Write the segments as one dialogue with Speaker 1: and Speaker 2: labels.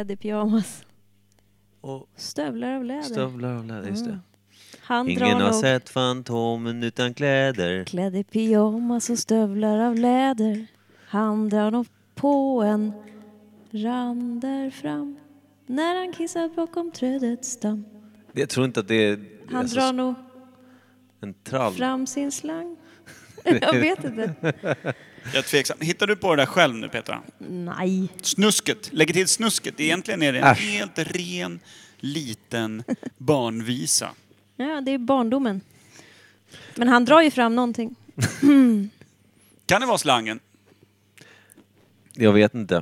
Speaker 1: i pyjamas.
Speaker 2: Och
Speaker 1: Stövlar av läder.
Speaker 2: stövlar av läder, just det.
Speaker 1: Han
Speaker 2: Ingen
Speaker 1: drar
Speaker 2: har
Speaker 1: Mm. nog
Speaker 2: sett Fantomen utan kläder.
Speaker 1: klädd i pyjamas och stövlar av läder. Han drar nog på en rand där fram. När han kissar bakom trädets stam.
Speaker 2: Jag tror inte att det är
Speaker 1: Han
Speaker 2: alltså,
Speaker 1: drar nog
Speaker 2: en trall.
Speaker 1: fram sin slang. Jag vet inte.
Speaker 3: Jag är tveksam. Hittar du på det där själv nu Petra?
Speaker 1: Nej.
Speaker 3: Snusket. Lägger till snusket. Egentligen är det en
Speaker 2: Äsch.
Speaker 3: helt ren liten barnvisa.
Speaker 1: Ja, det är barndomen. Men han drar ju fram någonting.
Speaker 3: Kan det vara slangen?
Speaker 2: Jag vet inte.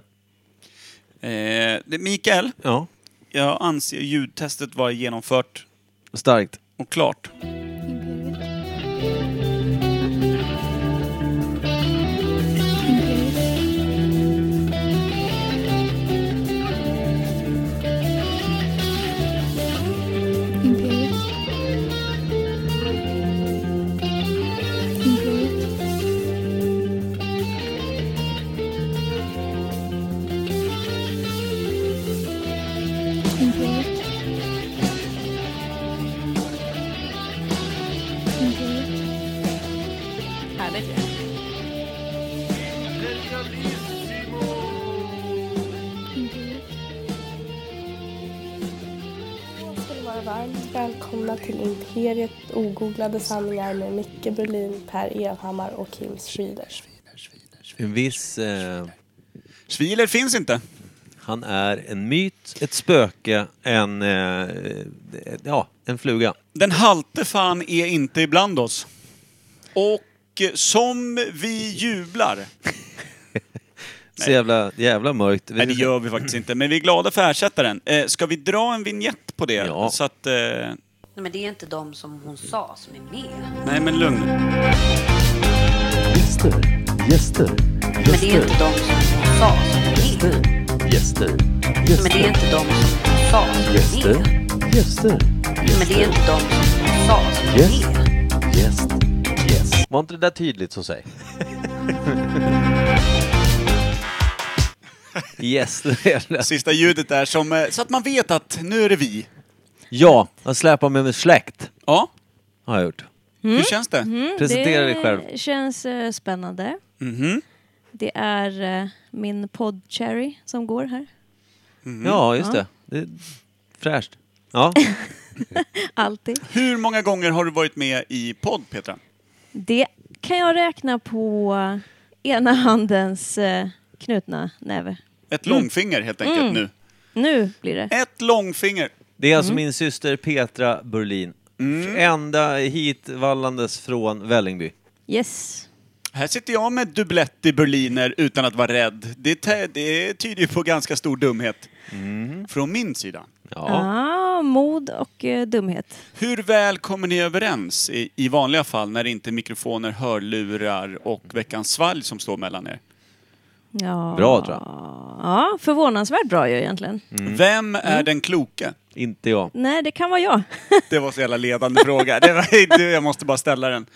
Speaker 3: Eh, det- Mikael,
Speaker 2: Ja,
Speaker 3: jag anser ljudtestet vara genomfört
Speaker 2: starkt.
Speaker 3: och klart.
Speaker 4: Imperiet. Imperiet. Imperiet. Imperiet.
Speaker 1: Härligt ju.
Speaker 5: ska ni vara varmt välkomna till Imperiet ogooglade sanningar med Micke Berlin, Per Evhammar och Kim Schryders.
Speaker 2: En viss... Eh,
Speaker 3: Schwiler finns inte.
Speaker 2: han är en myt, ett spöke, en... Eh, ja, en fluga.
Speaker 3: Den halte fan är inte ibland oss. Och eh, som vi jublar.
Speaker 2: Så jävla, jävla mörkt.
Speaker 3: Nej, det gör vi faktiskt inte. Men vi är glada för ersättaren. Eh, ska vi dra en vignett på det?
Speaker 2: Ja.
Speaker 3: Så att, eh, nej,
Speaker 6: Nej, men det är inte de som hon sa som är med.
Speaker 3: men lugn.
Speaker 7: Gäster, gäster,
Speaker 6: Men det är
Speaker 7: gäster,
Speaker 6: inte de som hon sa som är med.
Speaker 7: gäster,
Speaker 6: Men det är
Speaker 7: gäster,
Speaker 6: inte de som hon sa som är
Speaker 7: gäster,
Speaker 6: med.
Speaker 7: gäster,
Speaker 6: Men det är inte de som hon sa som är med.
Speaker 7: gäst, gäst.
Speaker 2: Var inte det där tydligt så säg? yes, det är det.
Speaker 3: Sista ljudet där som... Eh, så att man vet att nu är det vi.
Speaker 2: Ja, han släpar med mig släkt.
Speaker 3: Ja,
Speaker 2: Har jag gjort.
Speaker 3: hur känns det?
Speaker 2: Mm. Presentera dig själv.
Speaker 1: Det känns eh, spännande.
Speaker 3: Mhm.
Speaker 1: Det är eh, min podd Cherry som går här.
Speaker 2: Ja, just det. det är fräscht. Ja,
Speaker 1: Alltid.
Speaker 3: Hur många gånger har du varit med i podd, Petra?
Speaker 1: Det kan jag räkna på ena handens eh, knutna näve.
Speaker 3: Ett långfinger helt enkelt nu.
Speaker 1: Nu blir det.
Speaker 3: Ett långfinger.
Speaker 2: det är alltså
Speaker 1: Mm.
Speaker 2: min syster Petra Berlin. Ända hit vallandes från Vällingby.
Speaker 1: Yes.
Speaker 3: Här sitter jag med dublett i berliner utan att vara rädd. Det, te- det tyder ju på ganska stor dumhet. Från min sida.
Speaker 2: Ja.
Speaker 1: Ah, mod och eh, dumhet.
Speaker 3: Hur väl kommer ni överens i, i vanliga fall när det inte är mikrofoner, hörlurar och veckans svalg som står mellan er?
Speaker 1: Ja.
Speaker 2: Bra, tror jag.
Speaker 1: Ja, förvånansvärt bra ju egentligen.
Speaker 2: Mm.
Speaker 3: Vem är den kloke?
Speaker 2: Inte jag.
Speaker 1: Nej, det kan vara jag.
Speaker 3: Det var så jävla ledande fråga. Det var, du, jag måste bara ställa den.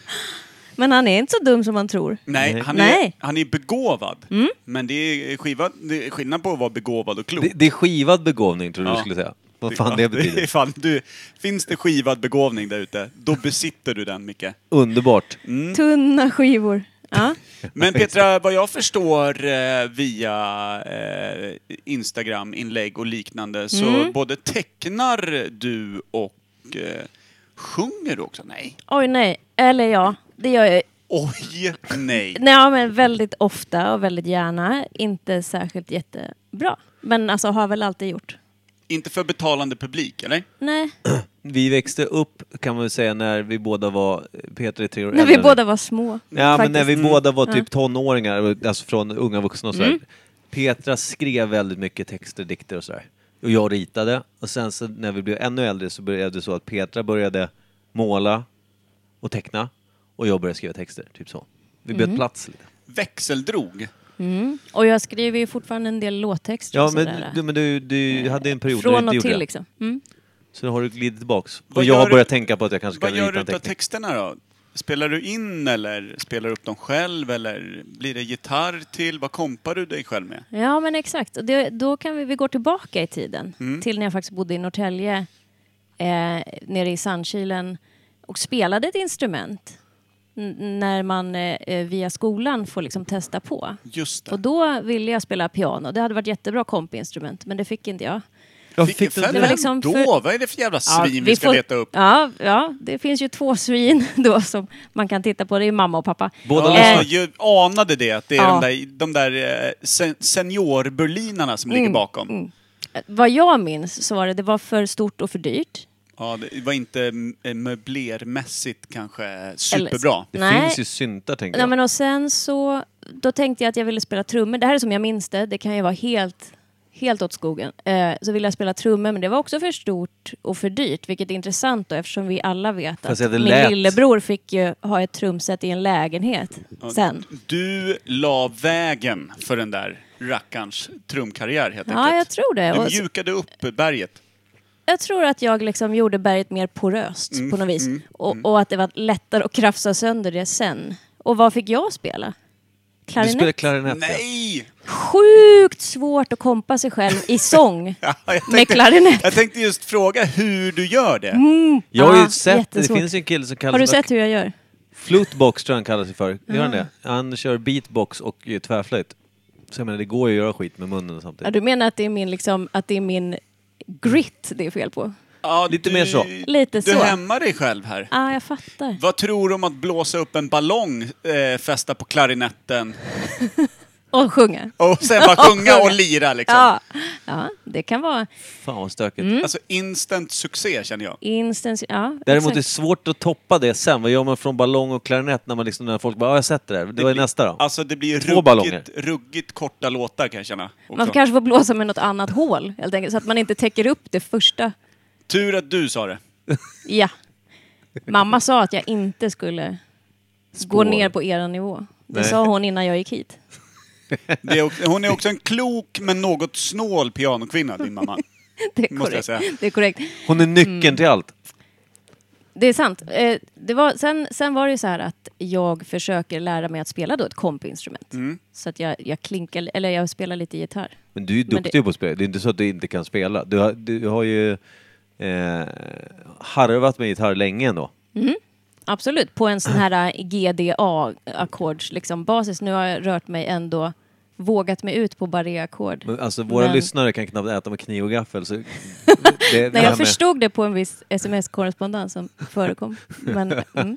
Speaker 1: Men han är inte så dum som man tror.
Speaker 3: Nej, han är,
Speaker 1: Nej. Mm.
Speaker 3: Han är begåvad. Men det är, skiva, det är skillnad på att vara begåvad och klok.
Speaker 2: Det, det är skivad begåvning, tror du
Speaker 3: Ja.
Speaker 2: skulle säga. Vad fan det
Speaker 3: är
Speaker 2: betyder.
Speaker 3: fan, du, finns det skivad begåvning där ute, då besitter du den, Micke.
Speaker 2: Underbart.
Speaker 1: Tunna skivor. Ja.
Speaker 3: Men Petra, vad jag förstår eh, via eh, Instagram-inlägg och liknande så
Speaker 1: Mm.
Speaker 3: både tecknar du och eh, sjunger du också? Nej.
Speaker 1: Oj, nej. Eller ja, det gör jag
Speaker 3: Oj, nej.
Speaker 1: Nej, ja, men väldigt ofta och väldigt gärna. Inte särskilt jättebra. Men alltså har väl alltid gjort.
Speaker 3: Inte för betalande publik, eller?
Speaker 1: Nej,
Speaker 2: Vi växte upp, kan man väl säga, när vi båda var... Petra är tre
Speaker 1: när
Speaker 2: år
Speaker 1: vi
Speaker 2: äldre än mig.
Speaker 1: båda var små.
Speaker 2: Ja,
Speaker 1: faktiskt.
Speaker 2: men när vi båda var typ tonåringar, alltså från unga vuxna och sådär.
Speaker 1: Mm.
Speaker 2: Petra skrev väldigt mycket texter, dikter och sådär. Och jag ritade. Och sen så när vi blev ännu äldre så började det så att Petra började måla och teckna. Och jag började skriva texter, typ så. Vi
Speaker 1: Mm.
Speaker 2: bytte plats lite.
Speaker 3: Växeldrog.
Speaker 1: Och jag skriver ju fortfarande en del låttexter
Speaker 2: Ja,
Speaker 1: och
Speaker 2: men
Speaker 1: sådär. Eh,
Speaker 2: du, men du, du hade en period när
Speaker 1: Från och
Speaker 2: du inte
Speaker 1: till
Speaker 2: gjorde det.
Speaker 1: liksom. Mm.
Speaker 2: Så nu har du glidit tillbaks.
Speaker 3: Vad
Speaker 2: Och jag
Speaker 3: gör
Speaker 2: har
Speaker 3: du-
Speaker 2: börjat tänka på att jag kanske
Speaker 3: Vad
Speaker 2: kan
Speaker 3: gör
Speaker 2: rita
Speaker 3: du
Speaker 2: en
Speaker 3: utav
Speaker 2: teckning.
Speaker 3: texterna då? Spelar du in eller spelar du upp dem själv eller blir det gitarr till? Vad kompar du dig själv med?
Speaker 1: Ja, men exakt. Och Det, då kan vi, vi går tillbaka i tiden
Speaker 3: Mm.
Speaker 1: till när jag faktiskt bodde i Norrtälje eh, nere i Sandkilen och spelade ett instrument n- när man eh, via skolan får liksom testa på.
Speaker 3: Just det.
Speaker 1: Och då ville jag spela piano. Det hade varit jättebra kompinstrument, men det fick inte jag.
Speaker 2: Jag
Speaker 3: Fick fick
Speaker 1: Det var liksom
Speaker 3: då?
Speaker 1: för-
Speaker 3: Vad är det för jävla svin vi, ska
Speaker 1: får-
Speaker 3: leta upp?
Speaker 1: Ja, ja, det finns ju två svin då som man kan titta på. Det är mamma och pappa.
Speaker 2: Båda
Speaker 3: Ja,
Speaker 1: Eh,
Speaker 3: jag ju- anade det, att det är
Speaker 1: Ja.
Speaker 3: de där, de där eh, sen, seniorberlinarna som
Speaker 1: Mm,
Speaker 3: ligger bakom.
Speaker 1: Vad jag minns så var det, det var för stort och för dyrt.
Speaker 3: Ja, det var inte eh, möblermässigt kanske superbra.
Speaker 2: Det
Speaker 1: Nej.
Speaker 2: finns ju syntar tänker
Speaker 1: Nej,
Speaker 2: jag.
Speaker 1: men och sen så, då tänkte jag att jag ville spela trummor. Det här är som jag minns det, det kan ju vara helt, helt åt skogen. Eh, så ville jag spela trummor, men det var också för stort och för dyrt, vilket är intressant då eftersom vi alla vet att
Speaker 2: Fast det
Speaker 1: min
Speaker 2: lät-
Speaker 1: lillebror fick ju ha ett trumset i en lägenhet sen.
Speaker 3: Du la vägen för den där rackarns trumkarriär helt
Speaker 1: Ja, jag
Speaker 3: enkelt.
Speaker 1: tror det. Och
Speaker 3: Du
Speaker 1: så-
Speaker 3: mjukade upp berget.
Speaker 1: jag tror att jag liksom gjorde berget mer poröst på något vis. och, och att det var lättare att krafsa sönder det sen. Och vad fick jag spela?
Speaker 2: Du spelar
Speaker 1: Klarinett.
Speaker 2: klarinett. ja.
Speaker 3: Nej!
Speaker 1: Sjukt svårt att kompa sig själv i sång
Speaker 3: Ja, jag,
Speaker 1: med
Speaker 3: tänkte,
Speaker 1: klarinett.
Speaker 3: jag tänkte just fråga hur du gör det.
Speaker 2: Jag har ju
Speaker 1: Ah,
Speaker 2: sett,
Speaker 1: jättesvårt.
Speaker 2: det finns ju en kille som kallas
Speaker 1: Har du sett hur jag gör?
Speaker 2: Flutebox tror jag han kallar sig för. Gör han det? Han kör beatbox och eh, tvärflöjt. Så jag menar, det går ju att göra skit med munnen
Speaker 1: Ja,
Speaker 2: samtidigt.
Speaker 1: du menar att det är min, liksom, att det är min grit det är fel på?
Speaker 3: Ja,
Speaker 2: Lite
Speaker 3: du,
Speaker 2: mer så.
Speaker 1: Lite
Speaker 3: du
Speaker 1: så.
Speaker 3: hämmar dig själv här.
Speaker 1: Ja, ah, jag fattar.
Speaker 3: Vad tror du om att blåsa upp en ballong, eh, fästa på klarinetten
Speaker 1: Och sjunga.
Speaker 3: och sen bara sjunga och lira liksom?
Speaker 1: Ja, ja det kan vara
Speaker 2: Fan vad stökigt.
Speaker 1: Mm,
Speaker 3: Alltså instant succé känner jag.
Speaker 1: instans... Ja,
Speaker 2: Däremot är det
Speaker 1: exakt.
Speaker 2: svårt att toppa det sen. Vad gör man från ballong och klarinett när, man liksom, när folk bara ja, jag har sett det där. Det var
Speaker 3: blir-
Speaker 2: nästa då.
Speaker 3: Alltså det blir
Speaker 2: Två ballonger.
Speaker 3: ruggigt, ruggigt korta låtar kan jag känna.
Speaker 1: Man
Speaker 3: Också.
Speaker 1: kanske får blåsa med något annat hål, helt enkelt, så att man inte täcker upp det första.
Speaker 3: Tur att du sa det.
Speaker 1: Ja. Mamma sa att jag inte skulle gå ner på er nivå. Det
Speaker 2: Nej.
Speaker 1: sa hon innan jag gick hit.
Speaker 3: det är, också- hon är också en klok men något snål pianokvinna, din mamma.
Speaker 1: Det är
Speaker 3: Måste
Speaker 1: korrekt.
Speaker 3: jag säga.
Speaker 1: Det är korrekt.
Speaker 2: Hon är nyckeln
Speaker 1: Mm.
Speaker 2: till allt.
Speaker 1: Det är sant. Eh, Det var, sen, sen var det ju så här att jag försöker lära mig att spela då ett kompinstrument.
Speaker 3: Mm.
Speaker 1: Så att jag, jag klinkar, eller jag spelar lite gitarr.
Speaker 2: Men du är ju
Speaker 1: Men det-
Speaker 2: duktig på att spela. Det är inte så att du inte kan spela. Du har, du har ju eh, harvat med gitarr länge ändå.
Speaker 1: Absolut, på en sån här eh, GDA-ackords liksom basis. Nu har jag rört mig ändå, vågat mig ut på barré-ackord.
Speaker 2: Men, alltså våra
Speaker 1: Men-
Speaker 2: lyssnare kan knappt äta med kniv och gaffel. Så det, det
Speaker 1: Nej,
Speaker 2: här
Speaker 1: jag
Speaker 2: med-
Speaker 1: förstod det på en viss sms-korrespondens som förekom. Men, mm.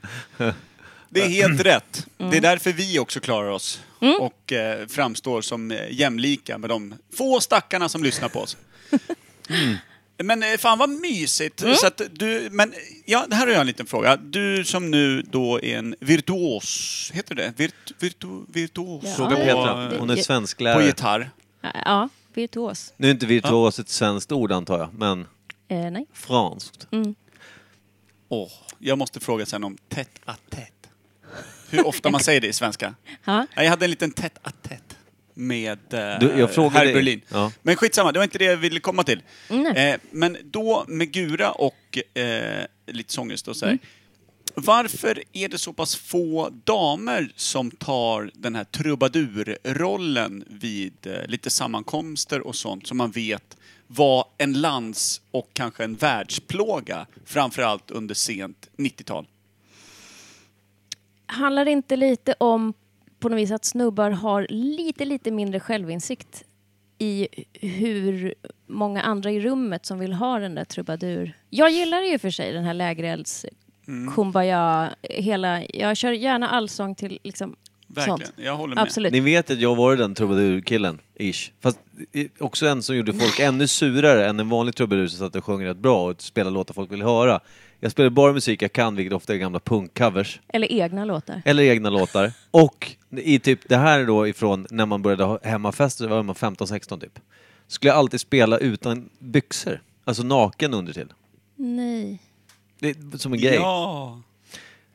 Speaker 3: Det är helt rätt. Det är därför vi också klarar oss och eh, framstår som eh, jämlika med de få stackarna som lyssnar på oss. Men eh, fan vad mysigt! Så att du, men ja, här har jag en liten fråga. Du som nu då är en virtuos, heter det Virt, virtu, Virtuos?
Speaker 1: Ja. Ja,
Speaker 2: Fråga Petra.
Speaker 1: det-
Speaker 2: Hon är
Speaker 1: det-
Speaker 3: På
Speaker 2: svensklärare.
Speaker 3: gitarr.
Speaker 1: Ja, virtuos.
Speaker 2: Nu är inte virtuos ett svenskt ord antar jag, men
Speaker 1: Eh, nej.
Speaker 2: franskt.
Speaker 3: Åh, jag måste fråga sen om tät à tät. Hur ofta man säger det i svenska.
Speaker 1: Ja.
Speaker 3: Nej, Jag hade en liten tät à tät med eh,
Speaker 2: Du, jag frågade
Speaker 3: herr
Speaker 2: dig.
Speaker 3: Berlin.
Speaker 2: Ja.
Speaker 3: Men skitsamma, det var inte det jag ville komma till.
Speaker 1: Nej.
Speaker 3: Eh, men då med Gura och eh, lite sångerst och så
Speaker 1: Mm.
Speaker 3: här. Varför är det så pass få damer som tar den här trubadurrollen vid eh, lite sammankomster och sånt som man vet var en lands och kanske en världsplåga, framförallt under sent 90-tal?
Speaker 1: handlar det inte lite om på något vis att snubbar har lite, lite mindre självinsikt i hur många andra i rummet som vill ha den där trubadur. Jag gillar ju för sig den här lägerelds
Speaker 3: Mm.
Speaker 1: kumbaya, hela, jag kör gärna allsång till liksom
Speaker 3: Verkligen,
Speaker 1: sånt.
Speaker 3: jag håller med.
Speaker 1: Absolut.
Speaker 2: Ni vet att jag var den trubadurkillen, ish. Fast i- också en som gjorde folk ännu surare än en vanlig trubadur som satt och sjöng rätt bra och spelade låtar folk vill höra. Jag spelar bara musik jag kan, vilket ofta är gamla punkcovers.
Speaker 1: Eller egna låtar.
Speaker 2: Eller egna låtar. Och i typ, det här är då ifrån när man började ha hemmafester, var man 15-16 typ. Skulle jag alltid spela utan byxor. Alltså naken under till.
Speaker 1: Nej.
Speaker 2: Det är som en grej.
Speaker 3: Ja.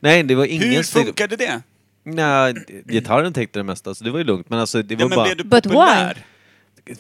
Speaker 2: Nej, det var ingen
Speaker 3: Hur
Speaker 2: stil-
Speaker 3: funkade det?
Speaker 2: Nej, gitarren täckte det mesta så det var ju lugnt. Men alltså det var
Speaker 3: Ja, men
Speaker 2: bara...
Speaker 3: blev du
Speaker 1: But why?
Speaker 3: populär?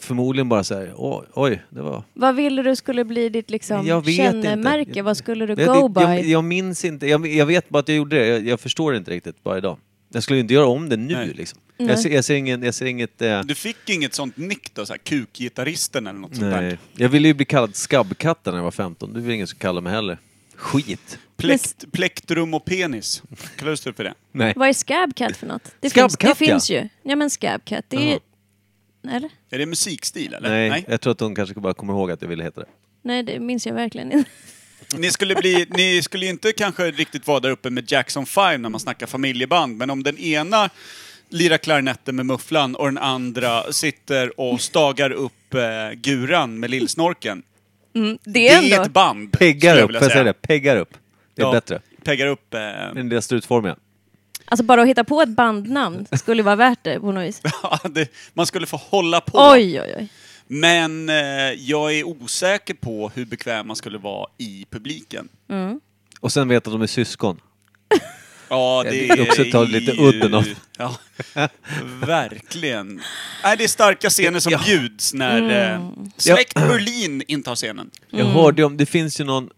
Speaker 2: förmodligen bara så här, oj, oj det var...
Speaker 1: Vad ville du skulle bli ditt liksom
Speaker 2: Jag vet inte.
Speaker 1: kännemärke? Vad skulle du
Speaker 2: Jag,
Speaker 1: go
Speaker 2: det- jag,
Speaker 1: by?
Speaker 2: jag minns inte, jag, jag vet bara att jag gjorde det, jag, jag förstår det inte riktigt bara idag. Jag skulle ju inte göra om det nu
Speaker 3: Nej.
Speaker 2: liksom. Jag ser, jag ser ingen, jag ser inget... Eh,
Speaker 3: Du fick inget sånt nick då, så här, kukgitarristen eller något sånt
Speaker 2: nej.
Speaker 3: där?
Speaker 2: Jag ville ju bli kallad skabbkatten när jag var 15, det var ingen som kallade mig heller. Skit!
Speaker 3: Plekt, plektrum och penis. Kallades du för det?
Speaker 2: Nej.
Speaker 1: Vad är scabcat för något? Det, finns,
Speaker 2: Scabcat,
Speaker 1: det
Speaker 2: ja.
Speaker 1: finns ju. Ja men scabcat, det är... Eller?
Speaker 3: Är det musikstil eller?
Speaker 2: Nej, jag tror att hon kanske bara kommer ihåg att jag ville heta det.
Speaker 1: Nej, det minns jag verkligen inte.
Speaker 3: Ni skulle, bli, ni skulle inte kanske riktigt vara där uppe med Jackson 5 när man snackar familjeband, men om den ena lirar klarinetten med mufflan och den andra sitter och stagar upp eh, guran med lillsnorken.
Speaker 1: Det
Speaker 3: Det
Speaker 1: är
Speaker 3: är ett
Speaker 1: ändå...
Speaker 3: band,
Speaker 2: Peggar
Speaker 3: skulle
Speaker 2: upp, får jag säga det? Peggar upp. Det är
Speaker 3: Ja,
Speaker 2: bättre.
Speaker 3: Peggar upp. Eh,
Speaker 2: Den där strutformiga.
Speaker 1: Alltså bara att hitta på ett bandnamn skulle vara värt det på något vis.
Speaker 3: ja, det, man skulle få hålla på.
Speaker 1: Oj, oj, oj.
Speaker 3: Men eh, jag är osäker på hur bekväm man skulle vara i publiken.
Speaker 2: Och sen vet att de är syskon.
Speaker 3: Ja, det,
Speaker 2: det är också att ta
Speaker 3: ju-
Speaker 2: lite udden av-
Speaker 3: Ja, verkligen. Nej, det är starka scener som
Speaker 2: Ja.
Speaker 3: bjuds när
Speaker 1: Mm.
Speaker 3: eh, släkt Berlin intar scenen.
Speaker 2: Jag hörde ju om, det finns ju någon...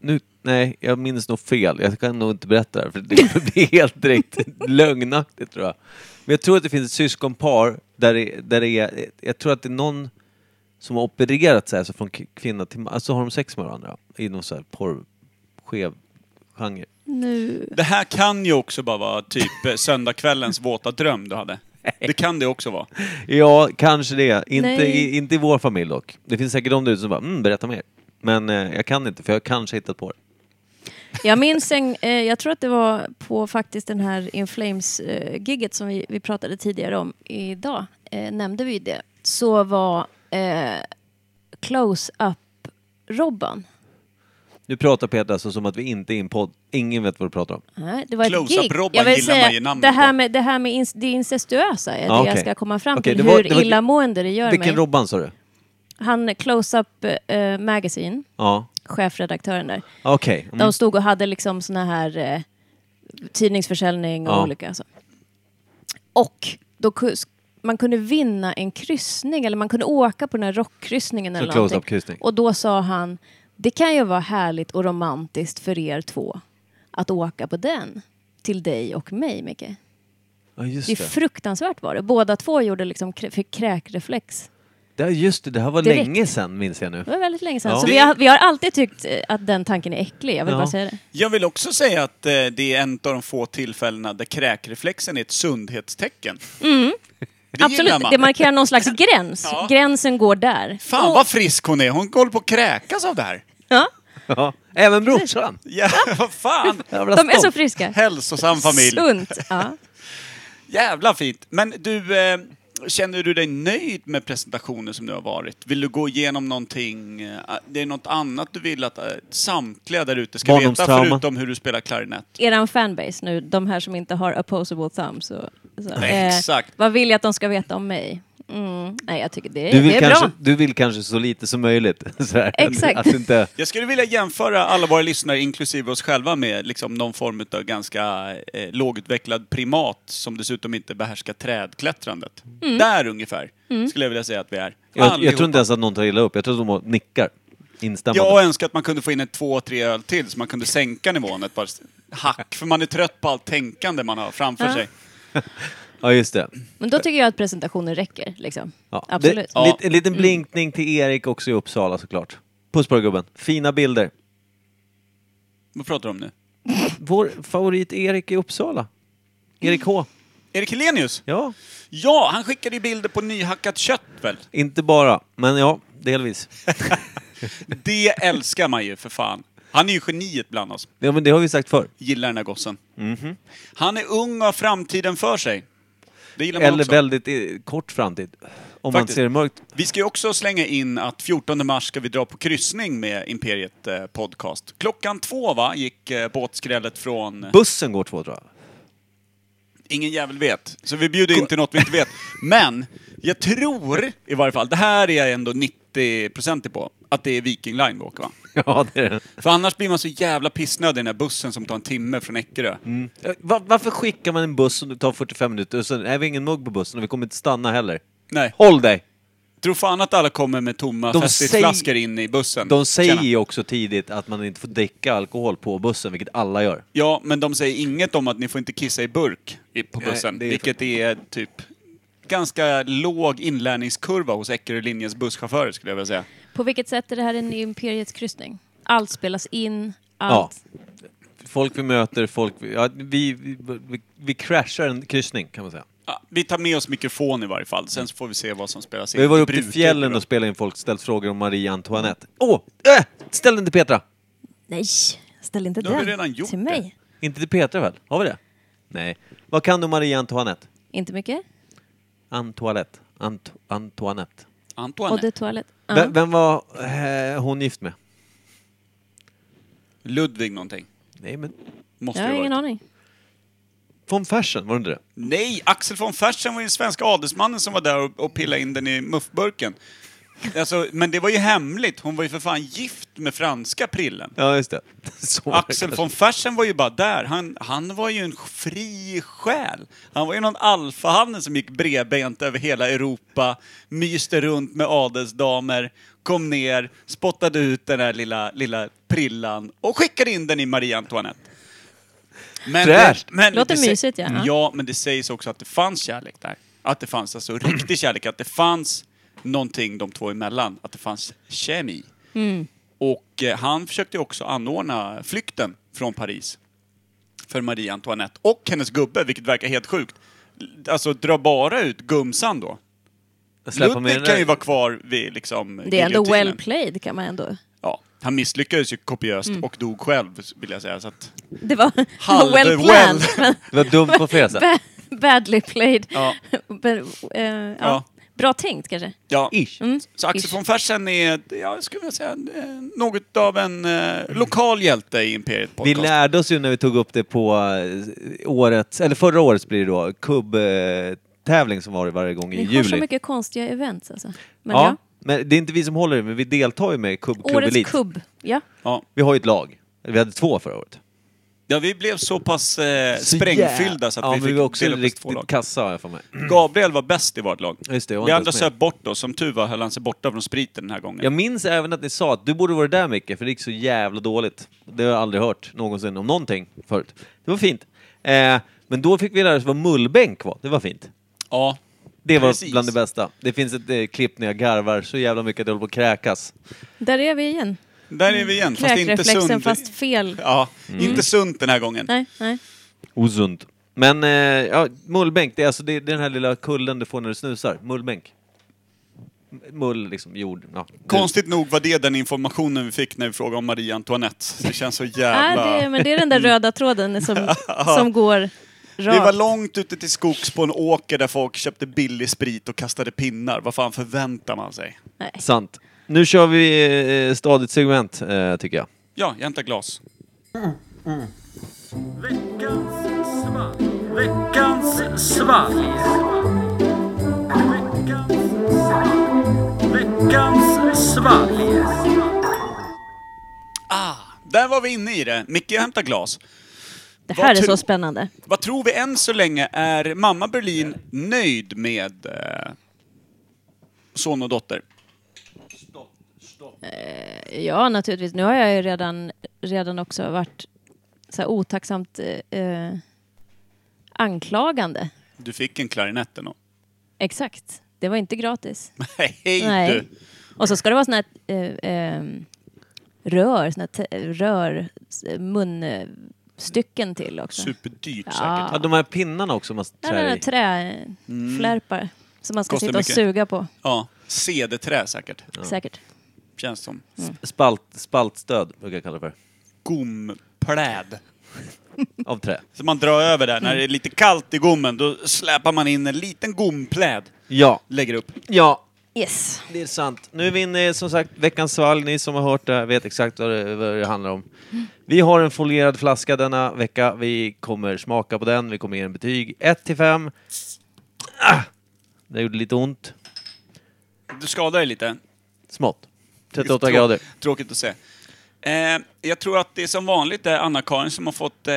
Speaker 2: Nu, nej, jag minns nog fel. Jag kan nog inte berätta det här för det blir helt direkt lögnaktigt tror jag. Men jag tror att det finns ett syskonpar där det, där det är... Jag tror att det är någon som har opererat sig, alltså från k- kvinna till man. Alltså har de sex med varandra inom så här porrskev genre.
Speaker 1: Nu...
Speaker 3: Det här kan ju också bara vara typ eh, söndagkvällens våta dröm du hade. Det kan det också vara.
Speaker 2: Ja, kanske det. Inte
Speaker 1: Nej.
Speaker 2: i, inte i vår familj dock. Det finns säkert de där ute som bara mm, berätta mer. Men eh, jag kan inte för jag har kanske hittat på det.
Speaker 1: Jag minns en, eh, jag tror att det var på faktiskt den här In Flames-giget som vi, vi pratade tidigare om idag, eh, nämnde vi det, så var eh, close-up-Robban,
Speaker 2: Nu pratar Peter alltså som att vi inte är i en podd. Ingen vet vad du pratar om.
Speaker 1: Nej, det var ett
Speaker 3: Close-up
Speaker 1: gig.
Speaker 3: Robban
Speaker 1: Jag vill
Speaker 3: gillar man ju
Speaker 1: säga,
Speaker 3: namnet
Speaker 1: det här
Speaker 3: på.
Speaker 1: med, det här med ins- det incestuösa är
Speaker 2: Ah,
Speaker 1: det jag
Speaker 2: okej.
Speaker 1: ska komma fram
Speaker 2: Okej,
Speaker 1: till,
Speaker 2: det var-
Speaker 1: hur
Speaker 2: det var-
Speaker 1: illamående det gör
Speaker 2: Vilken
Speaker 1: mig.
Speaker 2: Robban sa du?
Speaker 1: Han close-up eh, magazine,
Speaker 2: Ja,
Speaker 1: chefredaktören där,
Speaker 2: okej. Mm.
Speaker 1: de stod och hade liksom såna här eh, tidningsförsäljning och
Speaker 2: Ja.
Speaker 1: olika så. Och då ku- man kunde vinna en kryssning eller man kunde åka på den här rockkryssningen eller
Speaker 2: Så close-up
Speaker 1: någonting.
Speaker 2: kryssning.
Speaker 1: Och då sa han, det kan ju vara härligt och romantiskt för er två att åka på den till dig och mig, Micke.
Speaker 2: Ja, just
Speaker 1: Det är
Speaker 2: det.
Speaker 1: fruktansvärt var det. Båda två gjorde liksom krä- fick kräkreflex.
Speaker 2: Ja, just det. Det här var
Speaker 1: Direkt.
Speaker 2: länge sedan minns jag nu.
Speaker 1: Det var väldigt länge sedan.
Speaker 2: Ja.
Speaker 1: Så
Speaker 2: Det-
Speaker 1: vi har, vi har alltid tyckt eh, att den tanken är äcklig. Jag vill
Speaker 2: Ja.
Speaker 1: bara säga det.
Speaker 3: Jag vill också säga att eh, det är en av de få tillfällena där kräkreflexen är ett sundhetstecken. Det gillar
Speaker 1: Mm. Absolut,
Speaker 3: man.
Speaker 1: det markerar någon slags gräns.
Speaker 3: Ja.
Speaker 1: Gränsen går där.
Speaker 3: Fan vad frisk hon är, hon håller på att kräkas av det här.
Speaker 1: Ja.
Speaker 2: Ja. Även brorsan!
Speaker 3: Ja, vad fan!
Speaker 2: Jävla
Speaker 1: De är så
Speaker 2: stolt.
Speaker 1: friska.
Speaker 3: Hälsosam familj.
Speaker 1: Sunt. Ja.
Speaker 3: Jävla fint! Men du, eh, känner du dig nöjd med presentationen som du har varit? Vill du gå igenom någonting? eh, Det är något annat du vill att eh, samtliga där ute ska veta
Speaker 2: Barndomstrauma.
Speaker 3: förutom hur du spelar klarinett?
Speaker 1: Eran fanbase nu, de här som inte har opposable thumbs. Och, så, Eh,
Speaker 3: Exakt.
Speaker 1: Vad vill jag att de ska veta om mig? Mm. Nej, jag tycker det,
Speaker 2: Du
Speaker 1: det
Speaker 2: vill,
Speaker 1: är
Speaker 2: kanske,
Speaker 1: bra.
Speaker 2: du vill kanske så lite som möjligt. Så här, att-
Speaker 1: Exakt.
Speaker 2: Att inte,
Speaker 3: Jag skulle vilja jämföra alla våra lyssnare, inklusive oss själva, med liksom någon form av ganska eh, lågutvecklad primat som dessutom inte behärskar trädklättrandet. Där ungefär, skulle jag vilja säga att vi är.
Speaker 2: jag, jag
Speaker 3: Allihopa.
Speaker 2: tror inte ens att någon tar illa upp. Jag tror att de nickar. Instämmande.
Speaker 3: Jag önskar att man kunde få in ett två, tre öl till så man kunde sänka nivån ett par hack. För man är trött på allt tänkande man har framför sig.
Speaker 2: Ja, just det.
Speaker 1: Men då tycker jag att presentationen räcker. Liksom.
Speaker 2: Ja.
Speaker 1: Absolut. Mm.
Speaker 2: Det, lit- en liten blinkning till Erik också i Uppsala såklart. Puss på dig gubben. Fina bilder.
Speaker 3: Vad pratar du om nu?
Speaker 2: Vår favorit Erik i Uppsala. Erik H.
Speaker 3: Erik Helenius?
Speaker 2: Ja,
Speaker 3: Ja, han skickade ju bilder på nyhackat kött väl?
Speaker 2: inte bara, men ja, delvis.
Speaker 3: Det älskar man ju för fan. Han är ju geniet bland oss.
Speaker 2: Ja, men det har vi sagt förr.
Speaker 3: Gillar den här gossen.
Speaker 2: Mhm.
Speaker 3: Han är ung och har framtiden för sig. Det gillar man
Speaker 2: Eller
Speaker 3: också.
Speaker 2: väldigt eh, kort framtid. Om man
Speaker 3: Faktiskt.
Speaker 2: ser det mörkt.
Speaker 3: Vi ska ju också slänga in att 14 mars ska vi dra på kryssning med Imperiet eh, Podcast. Klockan två va, gick eh, båtskrället från...
Speaker 2: Bussen går två tror jag.
Speaker 3: Ingen jävel vet. Så vi bjuder inte något vi inte vet. Men jag tror i varje fall, det här är jag ändå 90% på, att det är Viking Line vi åker va?
Speaker 2: Ja, det är det.
Speaker 3: För annars blir man så jävla pissnödig i den här bussen som tar en timme från Eckerö.
Speaker 2: Eh, Va, varför skickar man en buss som det tar 45 minuter och sen är vi ingen mugg på bussen och vi kommer inte stanna heller?
Speaker 3: Nej.
Speaker 2: Håll dig!
Speaker 3: Tro fan att alla kommer med tomma
Speaker 2: De
Speaker 3: flaskor
Speaker 2: säger-
Speaker 3: in i bussen.
Speaker 2: De säger
Speaker 3: Tjena.
Speaker 2: ju också tidigt att man inte får dricka alkohol på bussen, vilket alla gör.
Speaker 3: Ja, men de säger inget om att ni får inte kissa i burk i- på
Speaker 2: Nej,
Speaker 3: bussen.
Speaker 2: det är-
Speaker 3: vilket är typ ganska låg inlärningskurva hos Eckerö linjens busschaufförer skulle jag vilja säga.
Speaker 1: På vilket sätt är det här en Imperiets kryssning? Allt spelas in, allt...
Speaker 2: Folk vi möter, folk vi... Ja, vi, vi, vi, vi kraschar en kryssning kan man säga.
Speaker 3: Ja, vi tar med oss mikrofon i varje fall, sen så får vi se vad som spelas in.
Speaker 2: Vi har varit uppe i
Speaker 3: Brukar inte
Speaker 2: fjällen
Speaker 3: vara-
Speaker 2: och spelat in folk, ställt frågor om Marie Antoinette. Åh! äh! Ställ den till Petra!
Speaker 1: Nej, ställ inte
Speaker 3: Nu
Speaker 1: den
Speaker 3: har vi redan gjort
Speaker 1: till mig.
Speaker 2: Inte till Petra väl? Har vi det? Nej. Vad kan du Marie Antoinette?
Speaker 1: Inte mycket.
Speaker 2: Antoinette. Ant Antoinette.
Speaker 1: Och
Speaker 3: Antoine,
Speaker 1: det är toalett. Ja.
Speaker 2: Vem, vem var eh, hon gift med?
Speaker 3: Ludvig någonting.
Speaker 2: Nej men...
Speaker 3: Måste
Speaker 1: Jag har
Speaker 3: det
Speaker 1: ingen
Speaker 3: vara.
Speaker 1: aning.
Speaker 2: Von Fersen, var det inte det?
Speaker 3: Nej, Axel von Fersen var ju den svenska adelsmannen som var där och, och pillade in den i muffburken. Alltså, men det var ju hemligt. Hon var ju för fan gift med franska prillen.
Speaker 2: Ja, just det. Så var det
Speaker 3: Axel
Speaker 2: kanske.
Speaker 3: von Fersen var ju bara där. Han, han var ju en fri själ. Han var ju någon alfahanne som gick bredbent över hela Europa, myste runt med adelsdamer, kom ner, spottade ut den där lilla, lilla prillan och skickade in den i Marie Antoinette. Men
Speaker 2: Fräscht.
Speaker 3: men
Speaker 1: Låter
Speaker 3: sä-
Speaker 1: mysigt, ja.
Speaker 3: Ja, men det sägs också att det fanns kärlek där. Att det fanns alltså riktig kärlek, att det fanns någonting de två emellan, att det fanns kemi.
Speaker 1: Mm.
Speaker 3: Och eh, han försökte ju också anordna flykten från Paris för Marie Antoinette och hennes gubbe, vilket verkar helt sjukt. L- Alltså dra bara ut gumsan då.
Speaker 2: Släppa med den
Speaker 3: Ludvig kan
Speaker 2: där.
Speaker 3: ju vara kvar vid liksom
Speaker 1: Det är ändå
Speaker 3: giljotinen.
Speaker 1: well played kan man ändå...
Speaker 3: Ja, han misslyckades ju kopiöst
Speaker 1: Mm.
Speaker 3: och dog själv vill jag säga. Så att,
Speaker 1: Det var
Speaker 3: Halv
Speaker 1: well
Speaker 3: well.
Speaker 1: planned. men
Speaker 2: Det var dumt på flera sätt.
Speaker 1: ba- badly played.
Speaker 3: Ja.
Speaker 1: Men, eh, ja.
Speaker 3: Ja.
Speaker 1: Bra tänkt kanske. Mm.
Speaker 3: ja.
Speaker 2: Ish.
Speaker 3: Så Axel
Speaker 1: Ish.
Speaker 3: von Fersen är, ja, jag skulle vilja säga, eh, något av en eh, lokal hjälte i Imperiet
Speaker 2: Vi
Speaker 3: Podcast.
Speaker 2: lärde oss ju när vi tog upp det på eh, årets, eller förra årets blir det då, kubbtävling som var varje gång i
Speaker 1: Ni har
Speaker 2: juli.
Speaker 1: så mycket konstiga events alltså. Men
Speaker 2: ja,
Speaker 1: ja.
Speaker 2: men det är inte vi som håller det, men vi deltar ju med i Kubb Klubb
Speaker 1: Årets
Speaker 2: Elit.
Speaker 1: kubb. Ja.
Speaker 3: ja.
Speaker 2: Vi har ju ett lag. Vi hade två förra året.
Speaker 3: ja, vi blev så pass eh,
Speaker 2: Så
Speaker 3: sprängfyllda
Speaker 2: jä-
Speaker 3: så att
Speaker 2: ja,
Speaker 3: vi
Speaker 2: men
Speaker 3: fick
Speaker 2: vi var också
Speaker 3: dela upp oss i två
Speaker 2: riktigt
Speaker 3: lag.
Speaker 2: kassa har jag för mig.
Speaker 3: Gabriel var bäst i vårt lag.
Speaker 2: Just det, jag var
Speaker 3: vi
Speaker 2: inte
Speaker 3: andra
Speaker 2: ens med.
Speaker 3: söp bort oss. Som tur var höll han sig borta från spriten den här gången.
Speaker 2: Jag minns även att ni sa att du borde vara där Micke, för det gick så jävla dåligt. Det har jag aldrig hört någonsin om någonting förut. Det var fint. Eh, men då fick vi lära oss vad mullbänk var. Det var fint.
Speaker 3: Ja.
Speaker 2: Det var
Speaker 3: Precis.
Speaker 2: bland det bästa. Det finns ett eh, klipp när jag garvar så jävla mycket att jag håller på att kräkas.
Speaker 1: Där är vi igen.
Speaker 3: Där är vi igen, fast inte
Speaker 1: Kräkreflexen
Speaker 3: sunt.
Speaker 1: fast fel.
Speaker 3: Ja,
Speaker 2: Mm.
Speaker 3: inte sunt den här gången.
Speaker 1: Nej, nej.
Speaker 2: Osund. Men eh, ja, mullbänk, det är alltså det, det är den här lilla kullen du får när du snusar. Mullbänk. M- Mull, liksom jord. Ja.
Speaker 3: Konstigt nog var det den informationen vi fick när vi frågade om Marie Antoinette. Det känns så
Speaker 1: Nej,
Speaker 3: jävla... Mm.
Speaker 1: det, men det är den där röda tråden som, som går
Speaker 3: Vi var
Speaker 1: rakt.
Speaker 3: långt ute till skogs på en åker där folk köpte billig sprit och kastade pinnar. Vad fan förväntar man sig?
Speaker 2: Du, sant. Nu kör vi eh, stadigt segment, eh, tycker jag.
Speaker 3: Ja, jämta glas. Veckans svalg. Veckans svalg. Veckans svalg. Veckans svalg. Ah, där var vi inne i det. Micke hämtar glas.
Speaker 1: Det
Speaker 3: Vad
Speaker 1: här är
Speaker 3: tro-
Speaker 1: så spännande.
Speaker 3: Vad tror vi än så länge? Är mamma Berlin nöjd med eh, son och dotter?
Speaker 1: Ja, naturligtvis. Nu har jag ju redan, redan också varit så här otacksamt eh, eh, anklagande.
Speaker 3: Du fick en klarinett eller nåt?
Speaker 1: Exakt. Det var inte gratis.
Speaker 3: Hej
Speaker 1: Nej.
Speaker 3: du!
Speaker 1: Och så ska det vara såna här eh, eh, rör, såna här te- rör, s- munstycken till också.
Speaker 3: Superdyrt
Speaker 1: Ja.
Speaker 3: säkert.
Speaker 2: Ja, de här pinnarna också man
Speaker 1: Ja, den
Speaker 2: trär
Speaker 1: här
Speaker 2: i.
Speaker 1: träflärpar som man ska
Speaker 3: Mm. Kostar
Speaker 1: sitta och
Speaker 3: mycket.
Speaker 1: suga på,
Speaker 3: Ja, cd-trä säkert.
Speaker 1: säkert.
Speaker 3: Känns som.
Speaker 1: Mm.
Speaker 2: Spalt, spaltstöd brukar jag kalla det för.
Speaker 3: Gompläd.
Speaker 2: Av trä.
Speaker 3: Så man drar över där.
Speaker 1: Mm.
Speaker 3: När det är lite kallt i gommen, då släpar man in en liten gompläd.
Speaker 2: Ja,
Speaker 3: Lägger upp.
Speaker 2: ja,
Speaker 1: Yes.
Speaker 2: det är sant. Nu är vi inne i, som sagt veckans svalg. Ni som har hört det här vet exakt vad det, vad det handlar om. Vi har en folierad flaska denna vecka. Vi kommer smaka på den. Vi kommer ge en betyg 1 till 5. Ah! Det gjorde lite ont.
Speaker 3: Du skadar dig lite.
Speaker 2: Smått. 38
Speaker 3: Trå-
Speaker 2: grader.
Speaker 3: Tråkigt att se. Eh, jag tror att det är som vanligt är Anna-Karin som har fått eh,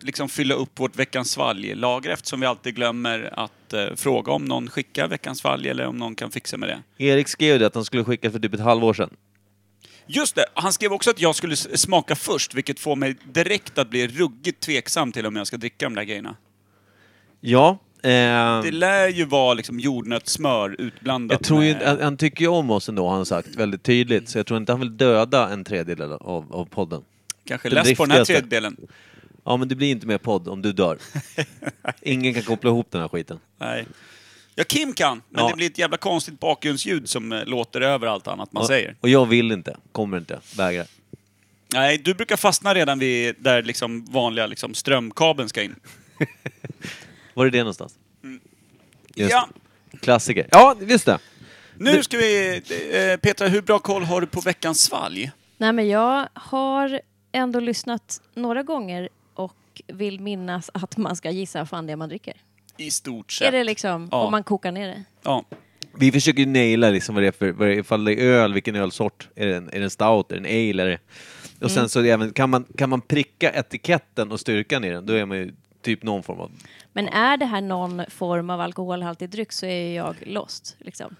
Speaker 3: liksom fylla upp vårt Veckans svalg-lager eftersom vi alltid glömmer att eh, fråga om någon skickar Veckans svalg eller om någon kan fixa med det.
Speaker 2: Erik skrev ju det att han skulle skicka för typ ett halvår sedan.
Speaker 3: Just det, han skrev också att jag skulle s- smaka först vilket får mig direkt att bli ruggigt tveksam till om jag ska dricka de där grejerna.
Speaker 2: Ja. Eh,
Speaker 3: Det lär ju vara liksom jordnötssmör utblandat
Speaker 2: jag tror ju,
Speaker 3: med-
Speaker 2: han, han tycker ju om oss ändå har han sagt väldigt tydligt. Så jag tror inte han vill döda en tredjedel av, av podden.
Speaker 3: Kanske
Speaker 2: det
Speaker 3: läs på den här
Speaker 2: driftigaste.
Speaker 3: tredjedelen.
Speaker 2: Ja men det blir inte mer podd om du dör. Ingen kan koppla ihop den här skiten.
Speaker 3: Nej. Ja, Kim kan, men
Speaker 2: Ja.
Speaker 3: det blir ett jävla konstigt bakgrundsljud som eh, låter över allt annat man
Speaker 2: och,
Speaker 3: säger.
Speaker 2: Och jag vill inte. Kommer inte. Vägrar.
Speaker 3: Nej, du brukar fastna redan vid där liksom vanliga liksom strömkabeln ska in.
Speaker 2: Var är det någonstans? Just
Speaker 3: Ja,
Speaker 2: det. Klassiker. Ja, just det.
Speaker 3: nu ska vi... Eh, Petra, hur bra koll har du på veckans svalg?
Speaker 1: Nej, men jag har ändå lyssnat några gånger och vill minnas att man ska gissa vad fan det är man dricker.
Speaker 3: I stort
Speaker 1: Är
Speaker 3: sett.
Speaker 1: det liksom,
Speaker 3: Ja.
Speaker 1: om man kokar ner det?
Speaker 3: Ja.
Speaker 2: Vi försöker ju naila liksom vad det är för, vad det är, ifall det är öl, vilken ölsort. Är det en, är det en stout, är det en ale? Är det... Och
Speaker 3: Mm.
Speaker 2: sen så är det även, kan, man, kan man pricka etiketten och styrkan i den, då är man ju typ någon form av...
Speaker 1: Men är det här någon form av alkoholhaltig dryck så är ju jag lost. Liksom.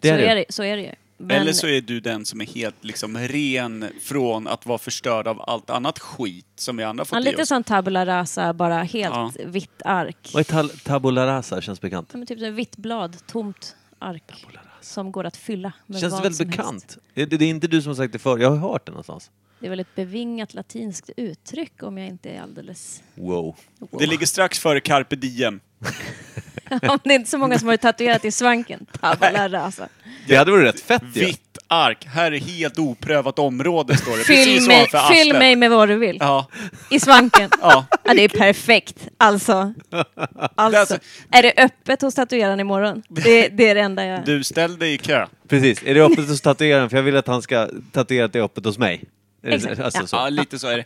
Speaker 2: Det
Speaker 1: så,
Speaker 2: är det.
Speaker 1: Är det, så är det ju. Men,
Speaker 3: Eller så är du den som är helt liksom ren från att vara förstörd av allt annat skit som vi andra
Speaker 1: han
Speaker 3: fått i
Speaker 1: lite
Speaker 3: oss.
Speaker 1: sån tabula rasa, bara helt vitt ark.
Speaker 2: Vad är tal, tabula rasa? Känns bekant.
Speaker 1: Som typ som vitt blad, tomt ark. Som går att fylla med
Speaker 2: Känns
Speaker 1: vad
Speaker 2: väldigt
Speaker 1: som Helst.
Speaker 2: bekant. Det, det är inte du som har sagt det förr, jag har hört det någonstans.
Speaker 1: Det är väl ett bevingat latinskt uttryck om jag inte är alldeles...
Speaker 2: Wow.
Speaker 3: Det ligger strax före carpe diem.
Speaker 1: om det är inte så många som har tatuerat i svanken. alltså. Tabula rasa.
Speaker 2: Det hade varit rätt fett ju.
Speaker 3: Vitt ark. Här är helt oprövat område, står det.
Speaker 1: Fyll
Speaker 3: Precis
Speaker 1: mig,
Speaker 3: ovanför
Speaker 1: fyll
Speaker 3: arslet.
Speaker 1: mig med vad du vill.
Speaker 3: Ja.
Speaker 1: I svanken.
Speaker 3: Ja.
Speaker 1: Ja, det är perfekt. Alltså. alltså.
Speaker 3: Alltså-
Speaker 1: Är det öppet hos tatueraren imorgon? Det, det är det enda jag...
Speaker 3: Du ställ dig i kö.
Speaker 2: Precis. Är det öppet hos tatueraren? För jag vill att han ska tatuera att det är öppet hos mig. Är det-
Speaker 1: Exakt,
Speaker 2: Alltså,
Speaker 1: ja.
Speaker 2: så.
Speaker 3: Ja, lite så är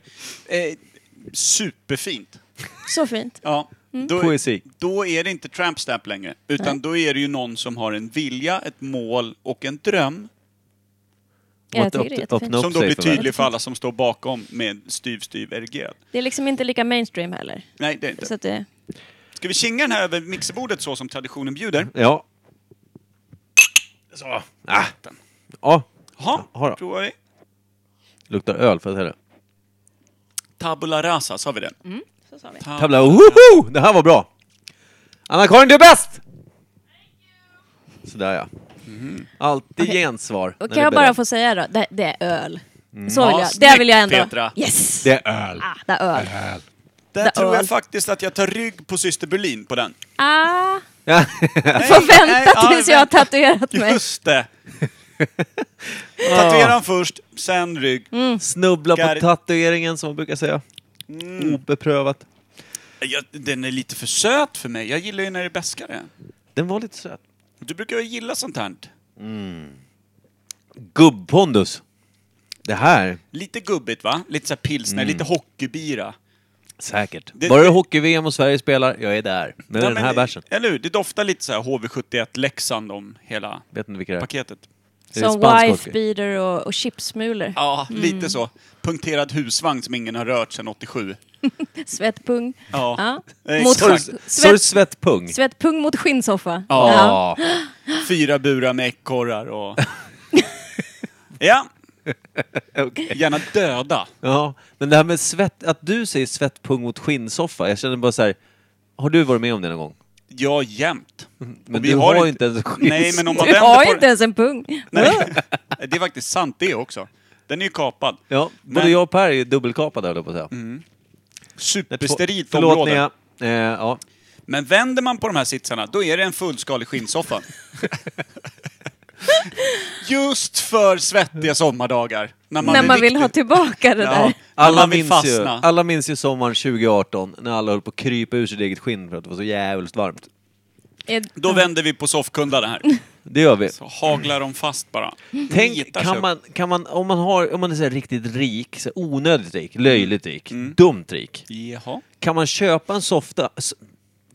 Speaker 3: det. Eh, superfint. Mm.
Speaker 1: Så fint.
Speaker 3: Ja. Då,
Speaker 2: Poesi.
Speaker 3: Då är det inte tramp stamp längre, utan då är det ju någon som har en vilja, ett mål och en dröm.
Speaker 1: Jag
Speaker 2: Att
Speaker 1: tycker det är
Speaker 2: öppna- öppna
Speaker 1: jättefint.
Speaker 2: upp
Speaker 3: Som då
Speaker 2: sig
Speaker 3: blir
Speaker 2: för världen.
Speaker 3: tydlig för alla som står bakom med styv, styv, erigerad.
Speaker 1: Det är liksom inte lika mainstream heller.
Speaker 3: Nej, det är inte.
Speaker 1: Så att det...
Speaker 3: Ska vi kinga den här över mixerbordet så som traditionen bjuder?
Speaker 2: Ja. Så. Ah. Ja. Jaha
Speaker 3: Jaha,
Speaker 2: då.
Speaker 3: provar vi.
Speaker 2: Luktar öl, för att säga det.
Speaker 3: Tabula rasa, Mm, sa vi det?
Speaker 1: Så sa vi.
Speaker 2: Tabla, woho! Det här var bra! Anna-Karin, du är bäst! Sådär ja. Alltid gensvar. när
Speaker 1: Och
Speaker 2: det
Speaker 1: Mhm. kan jag
Speaker 2: beröm.
Speaker 1: bara få säga då, det, det är öl. Så vill
Speaker 3: Mm. Ja,
Speaker 1: jag,
Speaker 3: snyggt,
Speaker 1: det vill jag ändå.
Speaker 3: Petra.
Speaker 1: Yes!
Speaker 2: Det är öl.
Speaker 1: Ah, det är öl.
Speaker 3: Där tror jag
Speaker 1: öl.
Speaker 3: faktiskt att jag tar rygg på syster Berlin på den.
Speaker 1: Ah,
Speaker 2: Ja.
Speaker 1: får
Speaker 3: nej,
Speaker 1: vänta
Speaker 3: ja,
Speaker 1: tills jag har
Speaker 3: vänta.
Speaker 1: tatuerat mig.
Speaker 3: Just det! Tatuera den först, sen rygg.
Speaker 2: Mm.
Speaker 1: Mm.
Speaker 2: Snubbla på
Speaker 3: Gar-
Speaker 2: tatueringen som man brukar säga.
Speaker 1: Mm.
Speaker 2: Obeprövat.
Speaker 3: Jag, den är lite för söt för mig. Jag gillar ju när det är beskare.
Speaker 2: Den var lite söt.
Speaker 3: Du brukar ju gilla sånt här.
Speaker 2: Gubbpondus. Det här,
Speaker 3: Lite gubbigt va? Lite så här pilsner,
Speaker 2: Mm.
Speaker 3: lite hockeybira.
Speaker 2: säkert.
Speaker 3: Det-
Speaker 2: Bara det är
Speaker 3: det-
Speaker 2: hockey-VM och Sverige spelar, jag är där. Med
Speaker 3: Ja,
Speaker 2: den
Speaker 3: men
Speaker 2: här
Speaker 3: det-
Speaker 2: bärsen.
Speaker 3: Eller hur? Det doftar lite så här HV71 Leksand om hela
Speaker 2: Vet inte vilka det är.
Speaker 3: paketet.
Speaker 2: Är det
Speaker 1: Som
Speaker 2: spansk
Speaker 1: wife
Speaker 2: hockey?
Speaker 1: beater och, och chipsmulor.
Speaker 3: Ja, Mm. lite så. Punkterad husvagn som ingen har rört sedan 87.
Speaker 1: Svettpung.
Speaker 3: Ja.
Speaker 1: Ja.
Speaker 3: Eh,
Speaker 1: Mot,
Speaker 3: sorry,
Speaker 1: svett,
Speaker 2: Så är det svettpung.
Speaker 1: svettpung mot skinnsoffa. Ja.
Speaker 2: Ja.
Speaker 3: Fyra burar med ekorrar och... ja,
Speaker 2: Okej.
Speaker 3: gärna döda.
Speaker 2: Ja, men det här med svett, att du säger svettpung mot skinnsoffa, jag känner bara så här. har du varit med om det någon gång?
Speaker 3: Ja, jämt.
Speaker 2: Mm. Men
Speaker 3: Och vi
Speaker 2: du
Speaker 3: har
Speaker 2: har,
Speaker 3: inte-
Speaker 2: ju inte ens skinnsoffa.
Speaker 3: Nej, men om man
Speaker 1: Du
Speaker 3: vänder
Speaker 1: har
Speaker 3: på
Speaker 1: ju
Speaker 3: det-
Speaker 1: inte ens en pung.
Speaker 3: Nej, det är faktiskt sant det också. Den är ju kapad.
Speaker 2: Ja, både
Speaker 3: Men-
Speaker 2: jag och Per är ju dubbelkapade höll jag på att säga. Det är två-
Speaker 3: Supersterilt
Speaker 2: Förlåt
Speaker 3: område.
Speaker 2: Nia. Eh, ja.
Speaker 3: Men vänder man på de här sitsarna, då är det en fullskalig skinnsoffa. Just för svettiga sommardagar. man,
Speaker 1: När
Speaker 3: är
Speaker 1: man vill ha
Speaker 3: riktigt-
Speaker 1: tillbaka det
Speaker 3: Ja,
Speaker 1: där.
Speaker 2: alla,
Speaker 3: man vill
Speaker 2: minns ju,
Speaker 3: fastna.
Speaker 2: alla minns ju sommaren 2018 när alla höll på att krypa ur sitt eget skinn för att det var så jävligt varmt.
Speaker 1: Är-
Speaker 3: Då vänder vi på soffkullarna här.
Speaker 2: Det gör vi.
Speaker 3: Så haglar de fast bara.
Speaker 2: Tänk,
Speaker 3: Nitar sig
Speaker 2: kan
Speaker 3: upp.
Speaker 2: man, kan man, om, man har, om man är så här riktigt rik, så här onödigt rik, löjligt rik,
Speaker 3: Mm.
Speaker 2: dumt rik.
Speaker 3: Jaha.
Speaker 2: Kan man köpa en softa... s-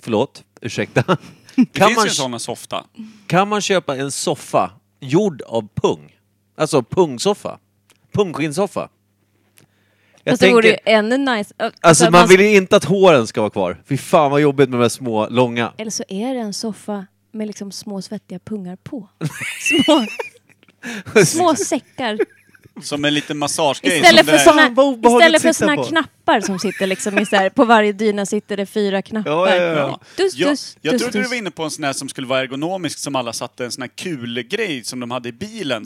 Speaker 2: Förlåt, ursäkta.
Speaker 3: Det
Speaker 2: Kan
Speaker 3: finns
Speaker 2: man,
Speaker 3: ju sådana softa.
Speaker 2: kan man köpa en soffa gjord av pung? Alltså pungsoffa? Pungskinnsoffa?
Speaker 1: Fast Alltså, det vore ju ännu nice. Ö,
Speaker 2: Alltså
Speaker 1: att
Speaker 2: man, vill ju inte att håren ska vara kvar. Fy fan vad jobbigt med de här små, långa.
Speaker 1: Eller så är det en soffa med liksom små svettiga pungar på. Små, små säckar.
Speaker 3: Som en liten massagegrej.
Speaker 1: Istället
Speaker 3: som
Speaker 1: för
Speaker 3: det-
Speaker 2: såna- Fan, vad
Speaker 1: sådana
Speaker 2: obehagligt
Speaker 1: istället för
Speaker 2: att sitta
Speaker 1: såna
Speaker 2: på.
Speaker 1: knappar som sitter liksom i så här, på varje dyna sitter det fyra knappar.
Speaker 2: Ja, ja, ja.
Speaker 1: Dus,
Speaker 3: Ja,
Speaker 1: dus,
Speaker 3: jag
Speaker 1: dus,
Speaker 3: trodde du
Speaker 1: dus.
Speaker 3: var inne på en sån här som skulle vara ergonomisk som alla satte en sån här kulgrej som de hade i bilen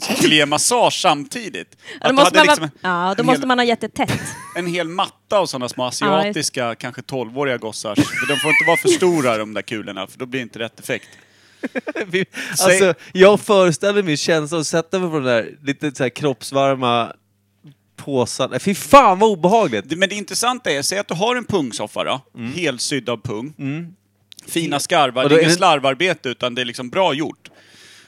Speaker 3: som skulle ge massage samtidigt.
Speaker 1: Ja, då
Speaker 3: du
Speaker 1: måste,
Speaker 3: hade
Speaker 1: man
Speaker 3: liksom
Speaker 1: vara, ja, då
Speaker 3: en,
Speaker 1: måste
Speaker 3: hel,
Speaker 1: man ha jättetätt.
Speaker 3: en hel matta av såna små
Speaker 1: Ja, just-
Speaker 3: asiatiska, kanske 12-åriga gossar. För de får inte vara för stora de där kulorna för då blir det inte rätt effekt.
Speaker 2: Vi- Alltså, jag föreställer mig känslan att sätta mig på den där lite så här kroppsvarma påsar. Nej, Fy fan vad obehagligt!
Speaker 3: Det- Men det intressanta är, säg att du har en pungsoffa då, helsydd av pung. Fina skarvar,
Speaker 2: Mm. Och
Speaker 3: det
Speaker 2: då
Speaker 3: är
Speaker 2: är
Speaker 3: inget
Speaker 2: det-
Speaker 3: slarvarbete utan det är liksom bra gjort.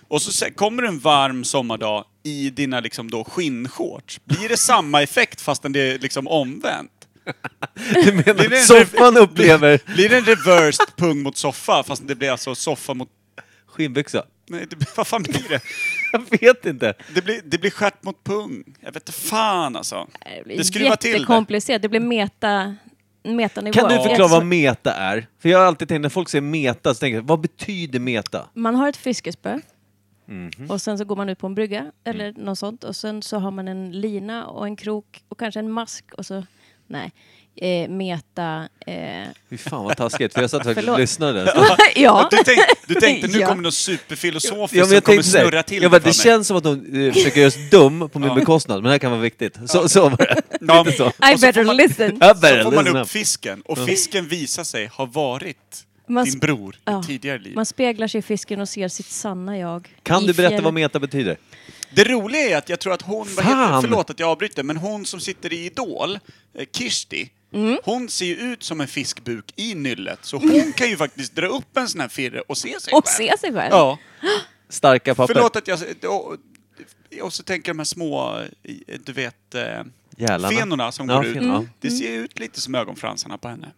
Speaker 3: Och så se- kommer en varm sommardag i dina liksom då skinnshorts. Blir det samma effekt fastän det är liksom omvänt?
Speaker 2: Du menar
Speaker 3: Blir det en
Speaker 2: soffan
Speaker 3: rev-
Speaker 2: upplever
Speaker 3: Blir det en reversed pung mot soffa fast det blir alltså soffa mot...
Speaker 2: skinnbyxa?
Speaker 3: Nej, det, blir- vad fan blir det?
Speaker 2: Jag vet inte.
Speaker 3: Det blir, det blir stjärt mot pung. Jag vet inte fan alltså.
Speaker 1: Det blir
Speaker 3: Det skruvar till det.
Speaker 1: jättekomplicerat. Det blir meta, metanivå.
Speaker 2: Kan du
Speaker 1: Det är
Speaker 2: förklara vad
Speaker 1: så-
Speaker 2: meta är? För jag har alltid tänkt när folk säger meta så tänker jag, vad betyder meta?
Speaker 1: Man har ett fiskespö.
Speaker 3: Mhm.
Speaker 1: Och sen så går man ut på en
Speaker 3: Mm.
Speaker 1: brygga eller något sånt. Och sen så har man en lina och en krok och kanske en mask. Och så, nej, eh, meta... Eh,
Speaker 2: Fy fan vad taskigt, för jag satt faktiskt och
Speaker 1: Förlåt.
Speaker 2: lyssnade. där.
Speaker 1: ja.
Speaker 3: Du tänkte, du tänkte nu
Speaker 1: Ja.
Speaker 3: kommer någon superfilosofisk
Speaker 2: Ja, men
Speaker 3: som
Speaker 2: jag
Speaker 3: kommer
Speaker 2: tänkte så här,
Speaker 3: snurra
Speaker 2: jag
Speaker 3: till det
Speaker 2: bara,
Speaker 3: för mig.
Speaker 2: det känns som att de eh, försöker göra oss dum på min bekostnad, men det här kan vara viktigt. Så, så var det.
Speaker 3: Ja.
Speaker 2: Lite så.
Speaker 1: I
Speaker 3: Och så får
Speaker 1: better
Speaker 3: man-
Speaker 1: listen.
Speaker 2: Ja,
Speaker 3: Så får man
Speaker 2: listen
Speaker 3: upp
Speaker 2: up. Mm.
Speaker 3: fisken och fisken visar sig ha varit
Speaker 1: Man
Speaker 3: din
Speaker 1: sp-
Speaker 3: bror
Speaker 1: Ja.
Speaker 3: i tidigare liv.
Speaker 1: Man speglar sig i fisken och ser sitt sanna jag.
Speaker 2: Kan
Speaker 1: i
Speaker 2: du berätta
Speaker 1: fjället.
Speaker 2: vad meta betyder?
Speaker 3: Det roliga är att jag tror att hon, vad heter,
Speaker 2: Fan!
Speaker 3: förlåt att jag avbryter, men hon som sitter i Idol, eh, Kirsti,
Speaker 1: Mm.
Speaker 3: hon ser ju ut som en fiskbuk i nyllet. Så hon kan ju faktiskt dra upp en sån här firre och se sig
Speaker 1: Och
Speaker 3: själv.
Speaker 1: se sig själv.
Speaker 3: Ja.
Speaker 2: Starka papper?
Speaker 3: Förlåt att jag... Och, och så tänker jag de här små, eh, du vet, eh,
Speaker 2: Gälarna.
Speaker 3: fenorna som
Speaker 2: Ja,
Speaker 3: går ut.
Speaker 2: fen-
Speaker 1: Mm.
Speaker 2: ja.
Speaker 3: Det ser ut lite som ögonfransarna på henne.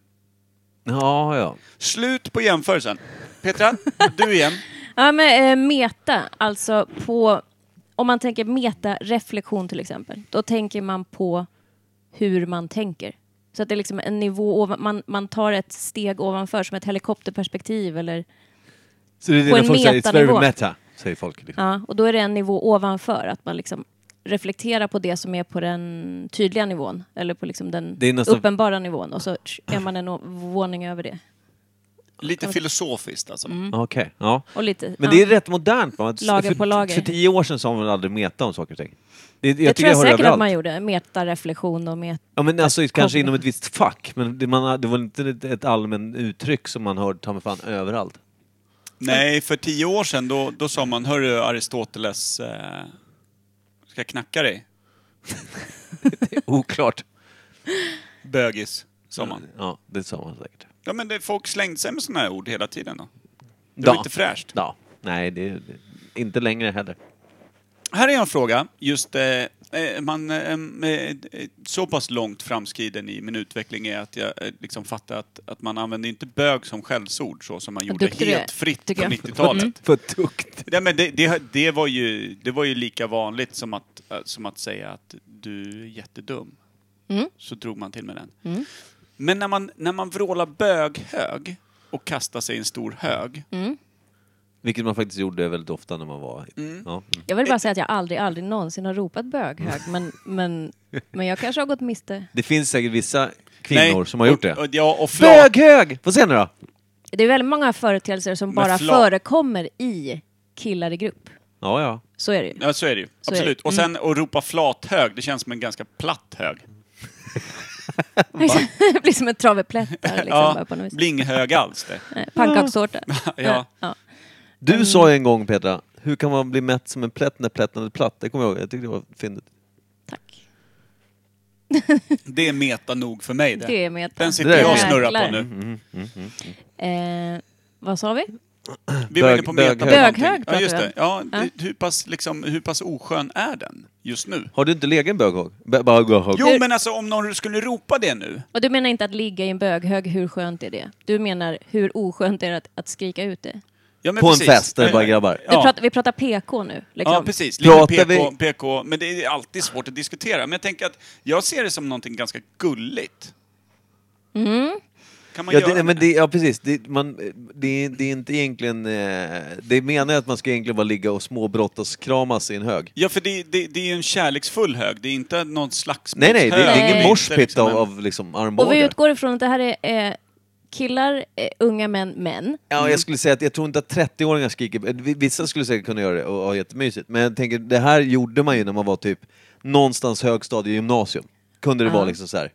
Speaker 2: Ja, ja.
Speaker 3: Slut på jämförelsen. Petra, du igen.
Speaker 1: Ja, men eh, meta, alltså på... Om man tänker meta-reflektion till exempel, då tänker man på hur man tänker. Så att det är liksom en nivå ovan, man, man tar ett steg ovanför, som ett helikopterperspektiv eller...
Speaker 2: Så det är
Speaker 1: På
Speaker 2: det
Speaker 1: en
Speaker 2: folk säger, it's very
Speaker 1: metanivå.
Speaker 2: meta, säger folk. Liksom.
Speaker 1: Ja, och då är det en nivå ovanför, att man liksom reflekterar på det som är på den tydliga nivån, eller på liksom den
Speaker 2: Det är nästan-
Speaker 1: uppenbara nivån, och så tsch, är man en o- våning över det.
Speaker 3: Lite filosofiskt alltså.
Speaker 1: Mm.
Speaker 2: Okej, ja.
Speaker 1: Och lite, ja.
Speaker 2: Men det är rätt modernt. Man.
Speaker 1: Lager
Speaker 2: för,
Speaker 1: på lager.
Speaker 2: För tio år sedan sa man aldrig meta om saker och ting. Det,
Speaker 1: det
Speaker 2: jag tycker
Speaker 1: tror jag
Speaker 2: hör
Speaker 1: säkert att
Speaker 2: överallt.
Speaker 1: man gjorde, meta-reflektion och meta...
Speaker 2: Ja, men alltså, kanske
Speaker 1: Kombination.
Speaker 2: inom ett visst fack, men det, man, har- det var inte ett, ett allmänt uttryck som man hörde ta mig fan överallt.
Speaker 3: Nej, för tio år sedan då, då sa man, hörru Aristoteles, eh, ska jag knacka dig?
Speaker 2: Oklart.
Speaker 3: Bögis, sa man.
Speaker 2: Ja, det sa man säkert.
Speaker 3: Ja men det, folk slängde sig med sådana här ord hela tiden då. Det
Speaker 2: Ja.
Speaker 3: var inte fräscht.
Speaker 2: Ja. Nej, det, det, inte längre heller.
Speaker 3: Här är en fråga, just eh, eh, man, eh, eh, så pass långt framskriden i min utveckling är att jag eh, liksom fattar att, att man använder inte bög som skällsord så som man gjorde
Speaker 1: duktig du är,
Speaker 3: helt fritt på
Speaker 1: tycker jag. Mm.
Speaker 3: 90-talet.
Speaker 2: För tukt.
Speaker 3: Nej, men det, det, det, var ju, det var ju lika vanligt som att, eh, som att säga att du är jättedum.
Speaker 1: Mm.
Speaker 3: Så drog man till med den. Men när man, när man vrålar böghög och kastar sig i en stor hög.
Speaker 1: Mm.
Speaker 2: Vilket man faktiskt gjorde väldigt ofta när man var...
Speaker 3: Mm.
Speaker 2: Ja.
Speaker 1: Jag vill
Speaker 3: Eh.
Speaker 1: bara säga att jag aldrig, aldrig någonsin har ropat böghög, men, men, men jag kanske har gått miste.
Speaker 2: Det finns säkert vissa kvinnor som har gjort det.
Speaker 3: Och, och, ja, och flat.
Speaker 2: Böghög! Vad säger ni då?
Speaker 1: Det är väldigt många företeelser som
Speaker 3: Men
Speaker 1: bara
Speaker 3: fla-
Speaker 1: förekommer i killar i grupp.
Speaker 2: Ja, ja.
Speaker 1: Så är det ju.
Speaker 3: Ja, så är det ju.
Speaker 1: Så är det. Mm.
Speaker 3: Absolut. Och sen att ropa flathög, det känns som en ganska platt hög.
Speaker 1: det blir som en trave plättar liksom, bara
Speaker 3: Ja,
Speaker 1: på något vis.
Speaker 3: blinghög alls det.
Speaker 1: Eh, Pannkakstårta.
Speaker 3: Ja.
Speaker 1: ja.
Speaker 2: Du
Speaker 3: Mm.
Speaker 2: sa ju en gång Petra, hur kan man bli mätt som en plätt när plätten är platt? Det kommer jag ihåg, jag tyckte det var fyndigt.
Speaker 1: Tack.
Speaker 3: Det är meta nog för mig det.
Speaker 1: Det är med.
Speaker 3: Den sitter
Speaker 2: Det är
Speaker 3: jag och
Speaker 2: meta.
Speaker 3: snurrar på
Speaker 1: Jäklar.
Speaker 3: nu.
Speaker 1: Eh, vad sa vi?
Speaker 3: Vi var
Speaker 2: Bög-
Speaker 3: inne på meta på
Speaker 2: böghög.
Speaker 3: någonting.
Speaker 1: Böghög
Speaker 3: Ja,
Speaker 1: pratar
Speaker 3: just
Speaker 1: vi
Speaker 3: det.
Speaker 1: om.
Speaker 3: Ja, det- hur, pass, liksom, hur pass oskön är den just nu?
Speaker 2: Har du inte legen böghög? Bö- böghög.
Speaker 3: Jo, men alltså om någon skulle ropa det nu.
Speaker 1: Och du menar inte att ligga i en böghög, hur skönt är det? Du menar hur oskönt är det att, att skrika ut det?
Speaker 3: Ja, men
Speaker 2: På en
Speaker 3: precis.
Speaker 2: fest där det bara
Speaker 3: Eh,
Speaker 2: grabbar.
Speaker 1: Du
Speaker 3: Ja.
Speaker 1: pratar, vi pratar PK nu. Liksom.
Speaker 3: Ja, precis. Lite
Speaker 2: Pratar
Speaker 3: PK,
Speaker 2: vi-
Speaker 3: PK, men det är alltid svårt att diskutera. Men jag tänker att jag ser det som någonting ganska gulligt. Kan man
Speaker 2: Mm. Ja,
Speaker 3: göra
Speaker 2: det,
Speaker 3: det?
Speaker 2: men det, ja precis, det, man, det, det är inte egentligen... eh, Det menar jag att man ska egentligen bara ligga och småbrottas, kramas i en hög.
Speaker 3: Ja, för det, det, det är ju en kärleksfull hög. Det är inte någon slags
Speaker 2: Nej, nej, det, det är
Speaker 1: Nej.
Speaker 2: ingen
Speaker 1: Inte
Speaker 2: morspit
Speaker 3: liksom
Speaker 2: av,
Speaker 3: en-
Speaker 2: av liksom armbågar.
Speaker 1: Och vi utgår ifrån att det här är eh, killar, eh, unga män, män.
Speaker 2: Ja, jag skulle säga att jag tror inte att 30-åringar skriker... eh, vi- Vissa skulle säkert kunna göra det och ha jättemysigt. Men jag tänker, det här gjorde man ju när man var typ någonstans högstadie gymnasium. Kunde det vara liksom så här.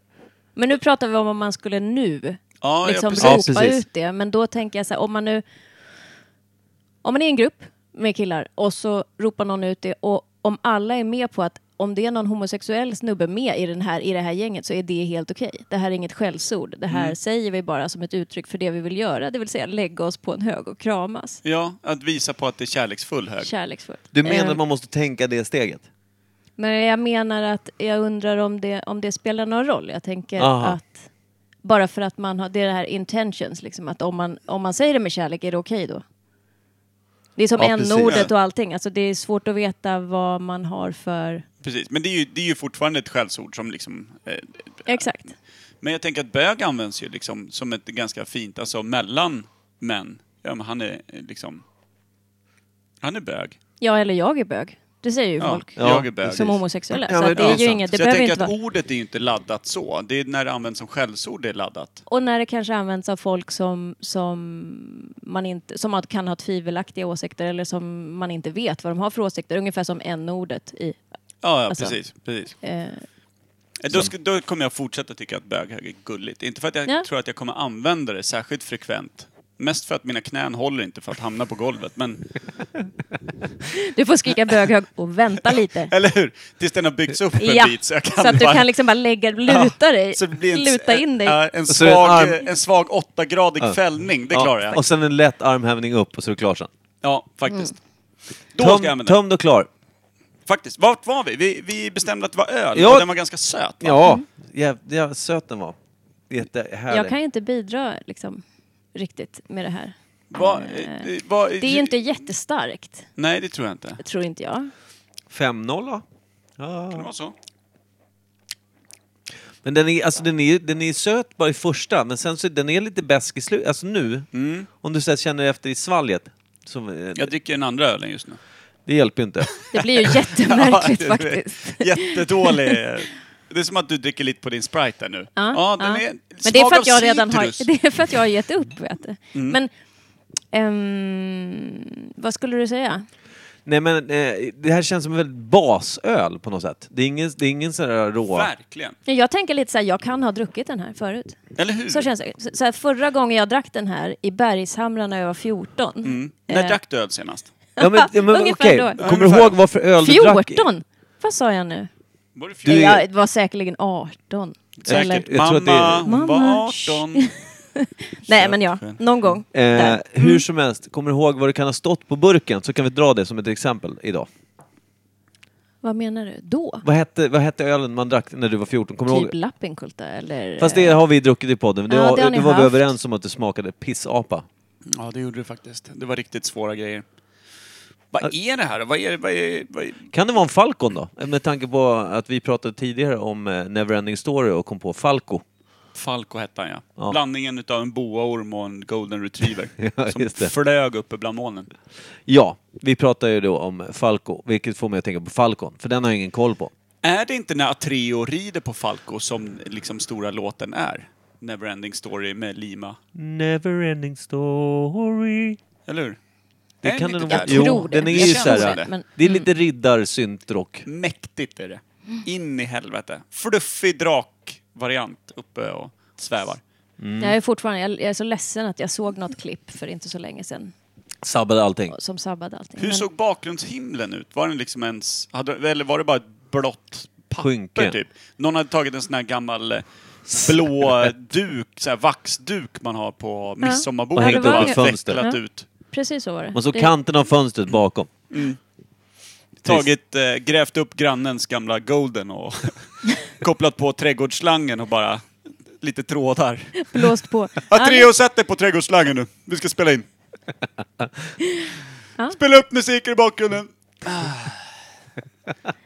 Speaker 1: Men nu pratar vi om om man skulle nu
Speaker 3: Ja, ja,
Speaker 1: liksom
Speaker 3: precis.
Speaker 2: Ja,
Speaker 1: ropa
Speaker 2: precis.
Speaker 1: ut det. Men då tänker jag så här, om man nu... Om man är i en grupp med killar och så ropar någon ut det och om alla är med på att om det är någon homosexuell snubbe med i, den här, i det här gänget så är det helt okej. Det här är inget skällsord. Det
Speaker 3: Mm.
Speaker 1: här säger vi bara som ett uttryck för det vi vill göra, det vill säga lägga oss på en hög och kramas.
Speaker 3: Ja, att visa på att det är kärleksfull hög.
Speaker 1: Kärleksfullt.
Speaker 2: Du menar
Speaker 1: Eh,
Speaker 2: att man måste tänka det steget?
Speaker 1: Men jag menar att jag undrar om det, om det spelar någon roll. Jag tänker
Speaker 2: Aha.
Speaker 1: att bara för att man har, det är det här intentions, liksom, att om man, om man säger det med kärlek, är det okej då? Det är som
Speaker 2: Ja, precis.
Speaker 1: n-ordet och allting, alltså det är svårt att veta vad man har för...
Speaker 3: Precis. Men det är, ju, det är ju fortfarande ett skällsord som liksom... Eh,
Speaker 1: Exakt.
Speaker 3: men jag tänker att bög används ju liksom som ett ganska fint, alltså mellan män. Ja, men han är eh, liksom... Han är bög.
Speaker 1: Ja, eller jag är bög. Det säger ju
Speaker 3: Ja,
Speaker 1: folk.
Speaker 2: Ja,
Speaker 3: jag är bög.
Speaker 1: Som homosexuella.
Speaker 2: Ja,
Speaker 1: så
Speaker 2: men
Speaker 1: att det är
Speaker 2: det är
Speaker 1: ju
Speaker 3: sant.
Speaker 1: inget, det
Speaker 3: så jag
Speaker 1: behöver
Speaker 3: tänker
Speaker 1: inte
Speaker 3: att
Speaker 1: vara...
Speaker 3: ordet är ju inte laddat så. Det är när det används som skällsord det är laddat.
Speaker 1: Och när det kanske används av folk som, som, man inte, som har- kan ha tvivelaktiga åsikter eller som man inte vet vad de har för åsikter. Ungefär som n-ordet i...
Speaker 3: Ja, ja
Speaker 1: Alltså.
Speaker 3: precis. precis.
Speaker 1: Eh,
Speaker 3: Eh, Då, ska, då kommer jag fortsätta tycka att böghög är gulligt. Inte för att jag
Speaker 1: Ja.
Speaker 3: tror att jag kommer använda det särskilt frekvent. Mest för att mina knän håller inte för att hamna på golvet. Men,
Speaker 1: Du får skrika böghög och vänta lite.
Speaker 3: eller hur? Tills den har byggts upp en
Speaker 1: Ja,
Speaker 3: bit så jag kan
Speaker 1: så att du
Speaker 3: bara-
Speaker 1: kan liksom bara lägga, luta dig,
Speaker 3: Så det blir en-
Speaker 1: luta in dig.
Speaker 3: ja, en,
Speaker 2: så är det
Speaker 3: svag, eh,
Speaker 2: en arm-
Speaker 3: en svag 8-gradig fällning, det klarar
Speaker 2: ja.
Speaker 3: jag.
Speaker 2: Och sen en lätt armhävning upp och så är det klart sen.
Speaker 3: Ja, faktiskt.
Speaker 1: Mm.
Speaker 3: Då ska jag
Speaker 2: Töm,
Speaker 3: använda den.
Speaker 2: tömd och klar.
Speaker 3: Faktiskt. Vart var vi? vi? Vi bestämde att det var öl
Speaker 2: Ja.
Speaker 3: och den var ganska söt. va?
Speaker 2: Ja, jävla jävla söt den var. Jättehärlig.
Speaker 1: Mm. Jag kan ju inte bidra liksom, riktigt med det här.
Speaker 3: Va, eh, va,
Speaker 1: Det är ju inte jättestarkt,
Speaker 3: Nej, det tror jag inte.
Speaker 1: tror inte jag.
Speaker 2: 5-0 va?
Speaker 3: Kan det vara så?
Speaker 2: Men den är, alltså, den, är, den är söt bara i första, men sen så den är lite besk i slutet. Alltså nu, om du så här känner efter i svalget. Som, eh,
Speaker 3: Jag dricker den andra ölen just nu.
Speaker 2: Det hjälper ju inte.
Speaker 1: Det blir ju jättemärkligt
Speaker 3: Ja, det-
Speaker 1: faktiskt.
Speaker 3: Jättedålig. Det är som att du dricker lite på din Sprite där nu.
Speaker 1: Ja,
Speaker 3: den
Speaker 1: ja.
Speaker 3: är
Speaker 1: Men det är
Speaker 3: svag
Speaker 1: för
Speaker 3: av
Speaker 1: att jag redan har,
Speaker 3: citrus. Mm.
Speaker 1: det är för att jag har gett upp, vet du. Men, ehm, vad skulle du säga?
Speaker 2: Nej men eh, det här känns som en väldigt basöl på något sätt. Det är ingen, det är ingen sån här rå...
Speaker 3: Verkligen.
Speaker 1: Jag tänker lite så här, jag kan ha druckit den här förut.
Speaker 3: Eller hur?
Speaker 1: Så känns det. Så- Så här, förra gången jag drack den här i Bergshamra när jag var 14.
Speaker 3: Mm. När
Speaker 1: eh,
Speaker 3: drack du öl senast?
Speaker 2: Ja, men, ja, men,
Speaker 1: Ungefär
Speaker 2: okej.
Speaker 1: då.
Speaker 2: Kommer du ihåg vad för öl du drack?
Speaker 1: 14? Vad sa jag nu?
Speaker 3: Var det
Speaker 2: Du
Speaker 3: du,
Speaker 2: är-
Speaker 1: Jag var säkerligen 18.
Speaker 3: Säkert.
Speaker 2: jag tror
Speaker 3: mamma,
Speaker 2: att det är-
Speaker 3: hon var
Speaker 1: Mamma,
Speaker 3: 18.
Speaker 1: Nej, men ja, någon gång.
Speaker 2: Eh,
Speaker 1: Där. Mm.
Speaker 2: hur som helst, kommer du ihåg vad det kan ha stått på burken? Så kan vi dra det som ett exempel idag.
Speaker 1: Vad menar du? Då?
Speaker 2: Vad hette, vad hette ölen man drack när du var 14? Kommer du
Speaker 1: Typ
Speaker 2: ihåg?
Speaker 1: Lappinkulta eller?
Speaker 2: Fast det har vi druckit i podden. Det,
Speaker 1: Ja,
Speaker 2: var-
Speaker 1: det har ni
Speaker 2: det var vi
Speaker 1: haft.
Speaker 2: överens om att det smakade pissapa.
Speaker 3: Ja, det gjorde du faktiskt. Det var riktigt svåra grejer. Vad är det här? Vad är, vad är, vad är...
Speaker 2: Kan det vara en Falcon då? Med tanke på att vi pratade tidigare om eh, Neverending Story och kom på Falco.
Speaker 3: Falco hette han, ja.
Speaker 2: Ja.
Speaker 3: Blandningen utav en boaorm och en golden retriever.
Speaker 2: Ja,
Speaker 3: som
Speaker 2: just det.
Speaker 3: flög uppe bland molnen.
Speaker 2: Ja, vi pratade ju då om Falco, vilket får mig att tänka på Falcon, för den har jag ingen koll på.
Speaker 3: Är det inte när Atreo rider på Falco som liksom stora låten är? Neverending Story med Lima.
Speaker 2: Neverending Story.
Speaker 3: Eller hur?
Speaker 2: Det
Speaker 3: är
Speaker 2: kan
Speaker 3: den
Speaker 2: den
Speaker 3: inte
Speaker 2: vara.
Speaker 3: där?
Speaker 1: Jag
Speaker 2: Jo,
Speaker 1: tror det.
Speaker 2: den är
Speaker 1: Jag
Speaker 2: ju
Speaker 1: känner
Speaker 2: såhär,
Speaker 1: det, men-
Speaker 2: det är lite riddarsyntrock.
Speaker 3: Mäktigt är det. In i helvete. Fluffig drakvariant uppe och svävar.
Speaker 1: Mm. Jag är fortfarande, jag, jag är så ledsen att jag såg något klipp för inte så länge sedan
Speaker 2: Sabbade allting.
Speaker 1: som sabbade allting.
Speaker 3: Hur
Speaker 1: Men
Speaker 3: såg bakgrundshimlen ut? Var den liksom ens... Hade, eller var det bara ett blått papper
Speaker 2: Skynke.
Speaker 3: typ? Någon hade tagit en sån här gammal eh, blå duk, så här vaxduk man har på midsommarbordet.
Speaker 2: Och hängt
Speaker 3: och
Speaker 1: upp
Speaker 3: bara
Speaker 1: i ett
Speaker 2: fönster.
Speaker 3: vecklat
Speaker 1: Ja.
Speaker 3: ut.
Speaker 1: Precis så var det.
Speaker 2: Man såg
Speaker 1: Det-
Speaker 2: kanten av fönstret bakom.
Speaker 3: Tagit, eh, grävt upp grannens gamla golden och kopplat på trädgårdsslangen och bara lite trådar.
Speaker 1: Blåst på.
Speaker 3: Atreo, sätt dig på trädgårdsslangen nu. Vi ska spela in. Spela upp musiken i bakgrunden. Ah.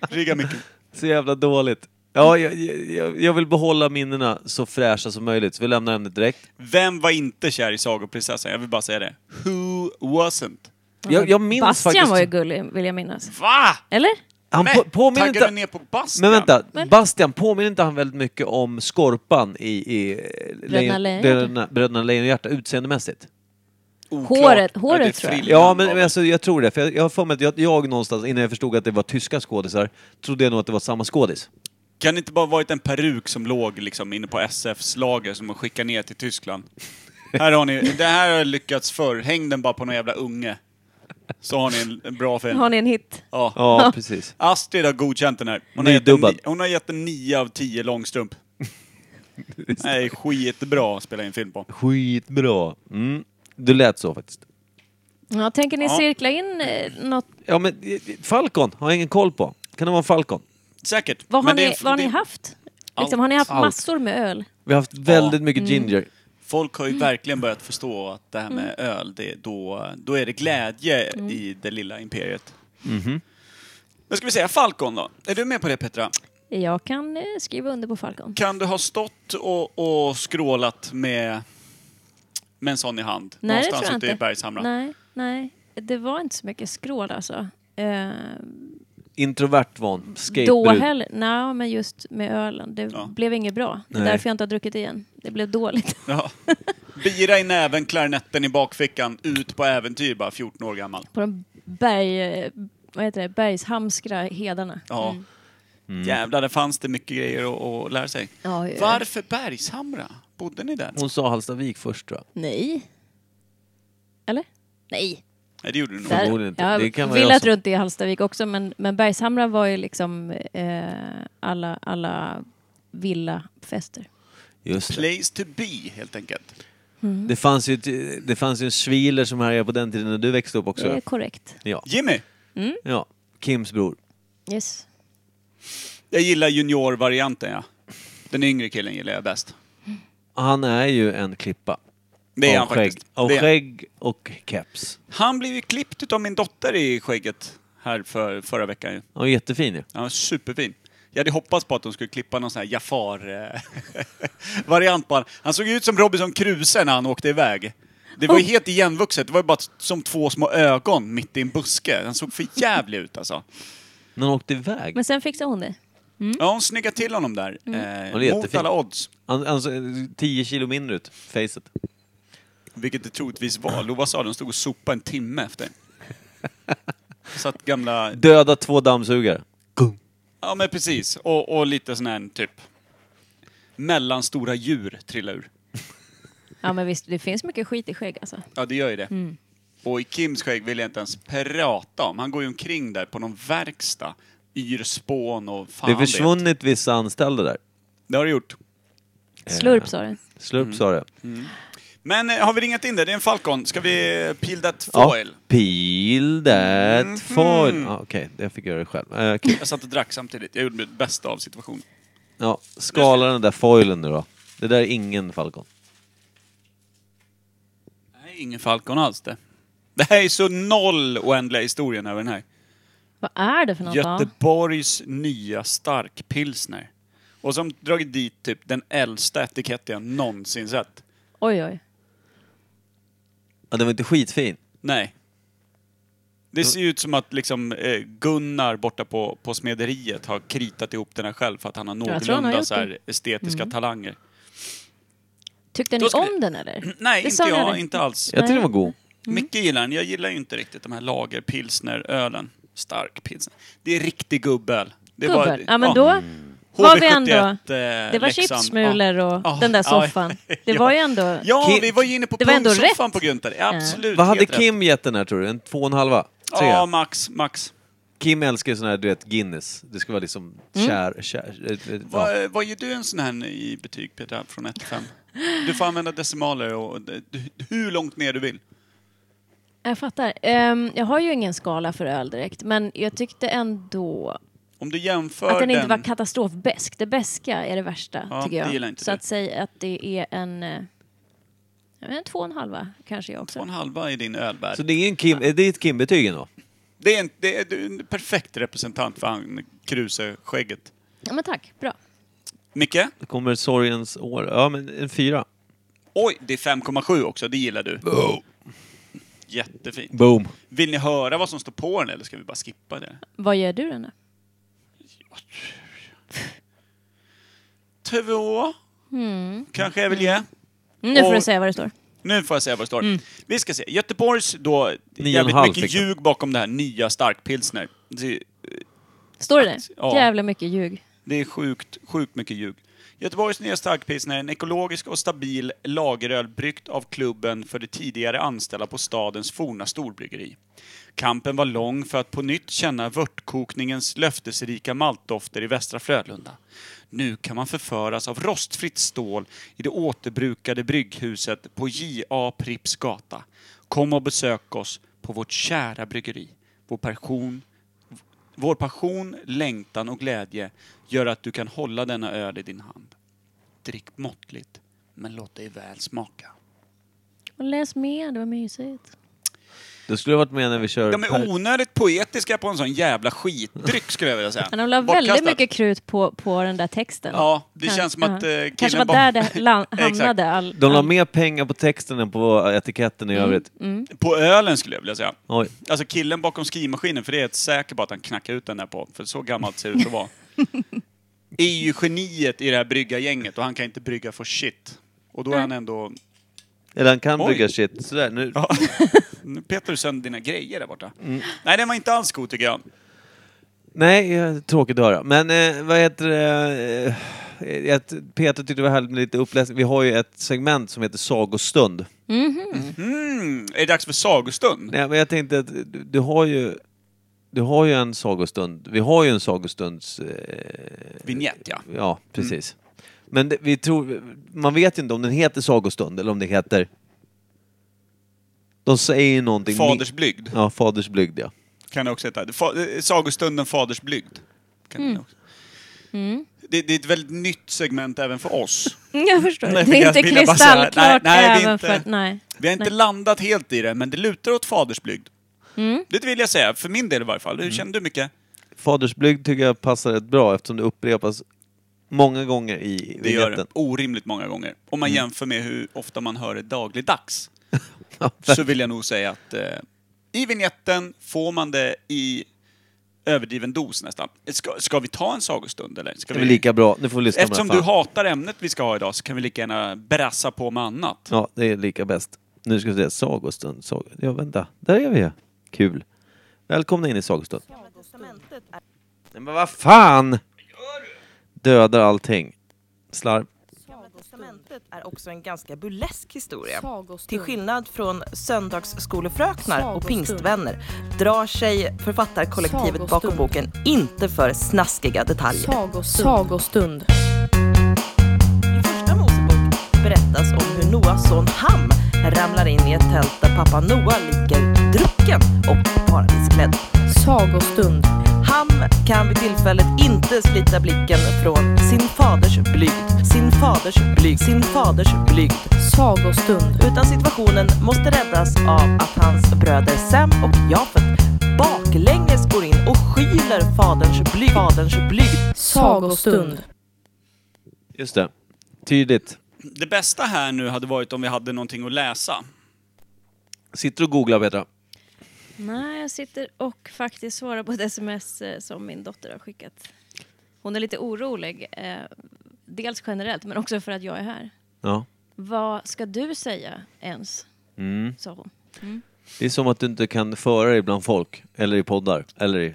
Speaker 3: Rigga mycket.
Speaker 2: Så jävla dåligt. Ja, jag, jag, jag vill behålla minnena så fräscha som möjligt, så vi lämnar ämnet direkt.
Speaker 3: Vem var inte kär i Sagoprinsessan? Jag vill bara säga det. Who wasn't?
Speaker 2: Jag, jag minns
Speaker 1: Bastian
Speaker 2: faktiskt...
Speaker 1: var ju gullig, vill jag minnas.
Speaker 3: Va?
Speaker 1: Eller?
Speaker 2: Han
Speaker 3: Nej,
Speaker 2: på, påminner
Speaker 3: taggar
Speaker 2: inte...
Speaker 3: du ner på Bastian?
Speaker 2: Men vänta,
Speaker 1: Men-
Speaker 2: Bastian, påminner inte han väldigt mycket om Skorpan i, i Lejon-
Speaker 1: Lejonhjärta.
Speaker 2: Bröderna- Bröderna Lejonhjärta utseendemässigt?
Speaker 3: Oklart.
Speaker 1: Håret-
Speaker 3: Ja,
Speaker 1: håret
Speaker 3: det är
Speaker 1: tror jag.
Speaker 3: frillan
Speaker 2: Ja, men,
Speaker 3: av-
Speaker 2: men alltså, jag tror det. För jag jag har för mig att jag, jag någonstans, innan jag förstod att det var tyska skådisar, trodde jag nog att det var samma skådis.
Speaker 3: Kan det inte bara varit en peruk som låg liksom inne på SFs lager som man skickar ner till Tyskland? här har ni, det här har lyckats förr. Häng den bara på någon jävla unge. Så har ni en, en bra film.
Speaker 1: Har ni en hit?
Speaker 3: Ja.
Speaker 2: Ja, precis.
Speaker 3: Astrid har godkänt den här. Hon har, gett en,
Speaker 2: Nydubbad.
Speaker 3: ni- hon har gett en 9 av 10 långstrump. Nej, skitbra att spela in film på.
Speaker 2: Skitbra. Mm. Du lät så faktiskt.
Speaker 1: Ja, tänker ni
Speaker 3: Ja.
Speaker 1: cirkla in eh, något?
Speaker 2: Ja, men eh, Falcon har jag ingen koll på. Kan det vara en Falcon?
Speaker 3: Säkert.
Speaker 1: Vad har,
Speaker 3: Men det
Speaker 1: ni,
Speaker 3: är-
Speaker 1: vad har
Speaker 3: det-
Speaker 1: ni haft? Liksom, har ni haft
Speaker 2: Allt.
Speaker 1: massor med öl?
Speaker 2: Vi har haft väldigt
Speaker 1: Mm.
Speaker 2: mycket ginger.
Speaker 3: Folk har ju verkligen börjat förstå att det här med
Speaker 1: Mm.
Speaker 3: öl, det, är då, då är det glädje i det lilla imperiet. Men ska vi säga Falcon då? Är du med på det Petra?
Speaker 1: Jag kan eh, skriva under på Falcon.
Speaker 3: Kan du ha stått och, och skrålat med, med en sån i hand?
Speaker 1: Nej, det
Speaker 3: någonstans
Speaker 1: tror jag
Speaker 3: ute
Speaker 1: inte.
Speaker 3: i Bergshamra?
Speaker 1: Nej, nej. Det var inte så mycket skrål alltså. Eh,
Speaker 2: Introvert var hon.
Speaker 1: då
Speaker 2: Skatebrud.
Speaker 1: heller. Nej, men just med ölen. Det
Speaker 3: Ja.
Speaker 1: blev inget bra. Det är
Speaker 2: Nej.
Speaker 1: därför jag inte har druckit igen. Det blev dåligt.
Speaker 3: Ja. Bira i näven, klarinetten i bakfickan, ut på äventyr bara 14 år gammal.
Speaker 1: på de berg, eh, vad heter det, bergshamskra hedarna. Mm.
Speaker 3: Ja. Jävlar, där fanns det mycket grejer att, att lära sig.
Speaker 1: Ja, ja.
Speaker 3: Varför Bergshamra? Bodde ni där?
Speaker 2: Hon sa Hallstavik först tror jag.
Speaker 1: Nej. Eller? Nej.
Speaker 3: Nej, det gjorde du nog.
Speaker 1: Där-
Speaker 2: Förmodligen inte.
Speaker 1: Jag
Speaker 2: Det kan vara jag
Speaker 1: villat
Speaker 2: som-
Speaker 1: runt i Hallstavik också, men, men Bergshamra var ju liksom eh, alla, alla villafester.
Speaker 2: Just det.
Speaker 3: Place to be, helt enkelt. Mm.
Speaker 2: Det fanns ju, ett- det fanns ju en sviler som härjade på den tiden när du växte upp
Speaker 1: Det är
Speaker 2: också.
Speaker 1: korrekt.
Speaker 2: Ja.
Speaker 3: Jimmy!
Speaker 2: ja. Kims bror.
Speaker 1: Yes.
Speaker 3: Jag gillar juniorvarianten, ja. Den yngre killen gillar jag bäst.
Speaker 2: Han är ju en klippa.
Speaker 3: Det är
Speaker 2: Av
Speaker 3: han
Speaker 2: skägg.
Speaker 3: faktiskt.
Speaker 2: Av
Speaker 3: Det är-
Speaker 2: skägg och keps.
Speaker 3: Han blev ju klippt utav min dotter i skägget här för, förra veckan ju.
Speaker 2: Han är jättefin ju.
Speaker 3: Han var superfin. Jag hade hoppats på att de skulle klippa någon sån här Jafar-variant på honom. Han såg ju ut som Robinson Crusoe när han åkte iväg. Det var ju helt igenvuxet. Det var ju bara som två små ögon mitt i en buske. Han såg för jävlig ut alltså.
Speaker 2: När han åkte iväg.
Speaker 1: Men sen fixade hon det.
Speaker 3: Ja, hon snyggade till honom där.
Speaker 2: Han
Speaker 3: Eh,
Speaker 2: Mm. är
Speaker 3: mot
Speaker 2: jättefin.
Speaker 3: alla odds.
Speaker 2: Han, han såg 10 kilo mindre ut. Facet.
Speaker 3: Vilket det troligtvis var. Lova sa de stod och sopade en timme efter. Satt gamla...
Speaker 2: Döda två dammsugare.
Speaker 3: Ja men precis. Och, och lite sån här typ... Mellanstora djur trillade ur.
Speaker 1: Ja men visst, det finns mycket skit i skägg alltså.
Speaker 3: Ja, det gör ju det. Och i Kims skägg vill jag inte ens prata om. Han går ju omkring där på någon verkstad. Yr spån och fan
Speaker 2: Det har
Speaker 3: vet.
Speaker 2: försvunnit vissa anställda där.
Speaker 3: Det har det gjort.
Speaker 1: Slurp sa det.
Speaker 2: Slurp
Speaker 3: Mm.
Speaker 2: sa det.
Speaker 3: Men eh, har vi ringat in det? Det är en Falcon. Ska vi eh, peel that
Speaker 2: Ja.
Speaker 3: foil? Mhm.
Speaker 2: Peel that foil. Ja, Okej, jag fick göra det själv. Eh, okej.
Speaker 3: Jag satt och drack samtidigt. Jag gjorde mitt bästa av situationen.
Speaker 2: Ja, skala den där foilen nu då. Det där är ingen Falcon.
Speaker 3: Nej, ingen Falcon alls det. Det här är så noll oändliga historien över den här.
Speaker 1: Vad är det för något? då?
Speaker 3: Göteborgs nya starkpilsner. Och som dragit dit typ den äldsta etiketten jag någonsin sett.
Speaker 1: Oj oj.
Speaker 2: Ja, den var inte skitfin.
Speaker 3: Nej. Det ser ju ut som att liksom eh, Gunnar borta på, på smederiet har kritat ihop den här själv för att han har
Speaker 1: tror han har
Speaker 3: någorlunda
Speaker 1: gjort Mm.
Speaker 3: så här estetiska talanger.
Speaker 1: Tyckte
Speaker 3: Då
Speaker 1: ni
Speaker 3: ska vi-
Speaker 1: om den eller?
Speaker 3: Nej,
Speaker 1: Det
Speaker 3: inte
Speaker 1: sa ni,
Speaker 3: jag.
Speaker 1: eller?
Speaker 3: Inte alls.
Speaker 2: Jag tyckte
Speaker 1: Nej.
Speaker 2: den var god.
Speaker 1: Mm.
Speaker 3: Mycket gillar den. Jag gillar ju inte riktigt de här lagerpilsnerölen. Stark pilsner. Det är riktig gubböl. Det var- Mm.
Speaker 1: Gubben. Ja men då var vi ändå... Det var
Speaker 3: eh, Leksand.
Speaker 1: chipssmulor och
Speaker 3: Ja.
Speaker 1: den där
Speaker 3: Ja.
Speaker 1: soffan. Det var ju ändå...
Speaker 3: Ja,
Speaker 2: Kim-
Speaker 3: vi var ju inne på
Speaker 1: Det var ändå
Speaker 3: pungsoffan
Speaker 1: rätt.
Speaker 3: på Gunther. Absolut.
Speaker 2: Vad hade
Speaker 3: helt rätt.
Speaker 2: Kim gett den här tror du? En två och en halva? Tre?
Speaker 3: Ja, max, max.
Speaker 2: Kim älskar ju sån här, du vet, Guinness. Det ska vara liksom kär, kär... eh, eh, ja.
Speaker 3: Vad, vad ger du en sån här i betyg, Peter, från 1 till 5? Du får använda decimaler och d- d- hur långt ner du vill.
Speaker 1: Jag fattar. Ehm, jag har ju ingen skala för öl direkt, men jag tyckte ändå
Speaker 3: Om du jämför
Speaker 1: att den, inte var katastrofbäsk. Det bäska är det värsta,
Speaker 3: Ja,
Speaker 1: tycker jag.
Speaker 3: det gillar inte
Speaker 1: Så
Speaker 3: du.
Speaker 1: att säga att det är en... eh, men två och en halva kanske jag
Speaker 3: Två och
Speaker 1: också.
Speaker 3: en halva i din ölbär.
Speaker 2: Så det är, en Kim, eh, det är ett Kim-betyg ändå?
Speaker 3: Det är en, det är, du är en perfekt representant för han Kruse-skägget.
Speaker 1: Ja, men tack, bra.
Speaker 3: Micke?
Speaker 2: Det kommer sorgens år. Ja, men en fyra.
Speaker 3: Oj, det är 5,7 också. Det gillar du.
Speaker 2: Oh.
Speaker 3: Jättefint.
Speaker 2: Boom.
Speaker 3: Vill ni höra vad som står på den eller ska vi bara skippa det?
Speaker 1: Vad gör du den
Speaker 3: Två. Kanske jag vill ge.
Speaker 1: Nu får
Speaker 3: Och-
Speaker 1: du säga vad det står.
Speaker 3: Nu får jag säga vad det står. Vi ska se. Göteborgs då,
Speaker 2: Nio och en
Speaker 3: jävligt
Speaker 2: halv
Speaker 3: mycket
Speaker 2: fick de.
Speaker 3: ljug bakom det här nya starkpilsner. Det,
Speaker 1: Står det det?
Speaker 3: Ja.
Speaker 1: Jävla mycket ljug.
Speaker 3: det är sjukt, sjukt mycket ljug. Göteborgs nya starkpilsner är en ekologisk och stabil lageröl bryggt av klubben för de tidigare anställda på stadens forna storbryggeri. Kampen var lång för att på nytt känna vörtkokningens löftesrika maltdofter i Västra Frölunda. Nu kan man förföras av rostfritt stål i det återbrukade brygghuset på J.A. Pripps gata. Kom och besök oss på vårt kära bryggeri. Vår passion, vår passion, längtan och glädje gör att du kan hålla denna öl i din hand. Drick måttligt, men låt dig väl smaka.
Speaker 1: Och läs mer, det var mysigt.
Speaker 2: Det skulle ha varit med när vi kör...
Speaker 3: De är
Speaker 2: per-
Speaker 3: onödigt poetiska på en sån jävla skitdryck skulle jag vilja säga.
Speaker 1: Men de la väldigt
Speaker 3: Bortkastat.
Speaker 1: mycket krut på, på den där texten.
Speaker 3: Ja, det
Speaker 1: Kan-
Speaker 3: känns som att
Speaker 1: ja.
Speaker 3: eh,
Speaker 1: Kanske var
Speaker 3: killen
Speaker 1: där
Speaker 3: bara-
Speaker 1: det la-
Speaker 3: Exakt.
Speaker 1: hamnade. All,
Speaker 2: De la
Speaker 1: all...
Speaker 2: mer pengar på texten än på etiketten i övrigt.
Speaker 3: På ölen skulle jag vilja säga.
Speaker 2: Oj.
Speaker 3: Alltså killen bakom skrivmaskinen, för det är jag säker på att han knackade ut den där på. För så gammalt ser det ut att vara. är ju geniet i det här bryggargänget och han kan inte brygga för shit. Och då är han ändå...
Speaker 2: Eller han kan
Speaker 3: Oj.
Speaker 2: brygga shit. Sådär, nu.
Speaker 3: Nu petar du sönder dina grejer där borta. Nej, den var inte alls god tycker jag.
Speaker 2: Nej, eh, tråkigt att höra. Men eh, vad heter det? Eh, eh, att Peter tyckte det var härligt med lite uppläsning. Vi har ju ett segment som heter Sagostund.
Speaker 3: Mm, är det dags för sagostund?
Speaker 2: Nej, men jag tänkte att du, du har ju... Du har ju en sagostund. Vi har ju en sagostunds... Eh,
Speaker 3: Vinjett, ja.
Speaker 2: Ja, precis.
Speaker 3: Mm.
Speaker 2: Men det, vi tror, man vet ju inte om den heter Sagostund eller om det heter... De säger ju någonting...
Speaker 3: Faders blygd.
Speaker 2: Ja, fadersblygd ja.
Speaker 3: Kan det också heta. Fa- eh, Sagostunden Faders blygd. Kan det, också. Det, det är ett väldigt nytt segment även för oss.
Speaker 1: Jag förstår.
Speaker 3: Nej,
Speaker 1: det är
Speaker 3: jag
Speaker 1: inte
Speaker 3: ville bara säga-
Speaker 1: kristallklart
Speaker 3: nej, nej, det är
Speaker 1: även
Speaker 3: inte-
Speaker 1: för att... Nej.
Speaker 3: Vi har inte
Speaker 1: Nej.
Speaker 3: landat helt i det, men det lutar åt fadersblygd. Det vill jag säga, för min del i varje fall. Hur känner du mycket?
Speaker 2: Fadersblygd tycker jag passar rätt bra eftersom det upprepas många gånger i
Speaker 3: Det gör det
Speaker 2: vignetten.
Speaker 3: orimligt många gånger. Om man jämför med hur ofta man hör det dagligdags.
Speaker 2: Mm. Ja,
Speaker 3: så vill jag nog säga att eh, i vignetten får man det i överdriven dos nästan. Ska, ska vi ta en sagostund eller? Ska
Speaker 2: Det är väl lika bra. Nu får vi lyssna
Speaker 3: Eftersom
Speaker 2: på den
Speaker 3: du
Speaker 2: här, fan.
Speaker 3: hatar ämnet vi ska ha idag så kan vi lika gärna brassa på med annat.
Speaker 2: Ja, det är lika bäst. Nu ska vi se. Sagostund. Sag... Ja, vänta. Där är vi ju. Kul. Välkomna in i Sagostund. Nej, men vad fan! Dödar allting. Slarv.
Speaker 4: Gamla testamentet är också en ganska burlesk historia.
Speaker 5: Sagostund.
Speaker 4: Till skillnad från söndagsskolefröknar och
Speaker 5: Sagostund.
Speaker 4: pingstvänner drar sig författarkollektivet bakom
Speaker 5: Sagostund.
Speaker 4: boken inte för snaskiga detaljer.
Speaker 5: Sagostund.
Speaker 4: I första Mosebok berättas om hur Noas son Ham ramlar in i ett tält där pappa Noa ligger drucken och paradisklädd.
Speaker 5: Sagostund.
Speaker 4: Ham kan vid tillfället inte slita blicken från sin faders blygd, sin faders blygd, sin faders blygd.
Speaker 5: Sagostund.
Speaker 4: utan situationen måste räddas av att hans bröder Sam och Jafet baklänges går in och skyler faderns blygd. Faderns blygd.
Speaker 5: Sagostund.
Speaker 2: Just det. Tydligt.
Speaker 3: Det bästa här nu hade varit om vi hade någonting att läsa.
Speaker 2: Sitter och googlar Petra.
Speaker 1: Nej, jag sitter och faktiskt svarar på ett sms eh, som min dotter har skickat. Hon är lite orolig. Eh, dels generellt, men också för att jag är här.
Speaker 2: Ja.
Speaker 1: Vad ska du säga ens? Sa hon.
Speaker 2: Mm. Det är som att du inte kan föra dig bland folk. Eller i poddar. Eller i...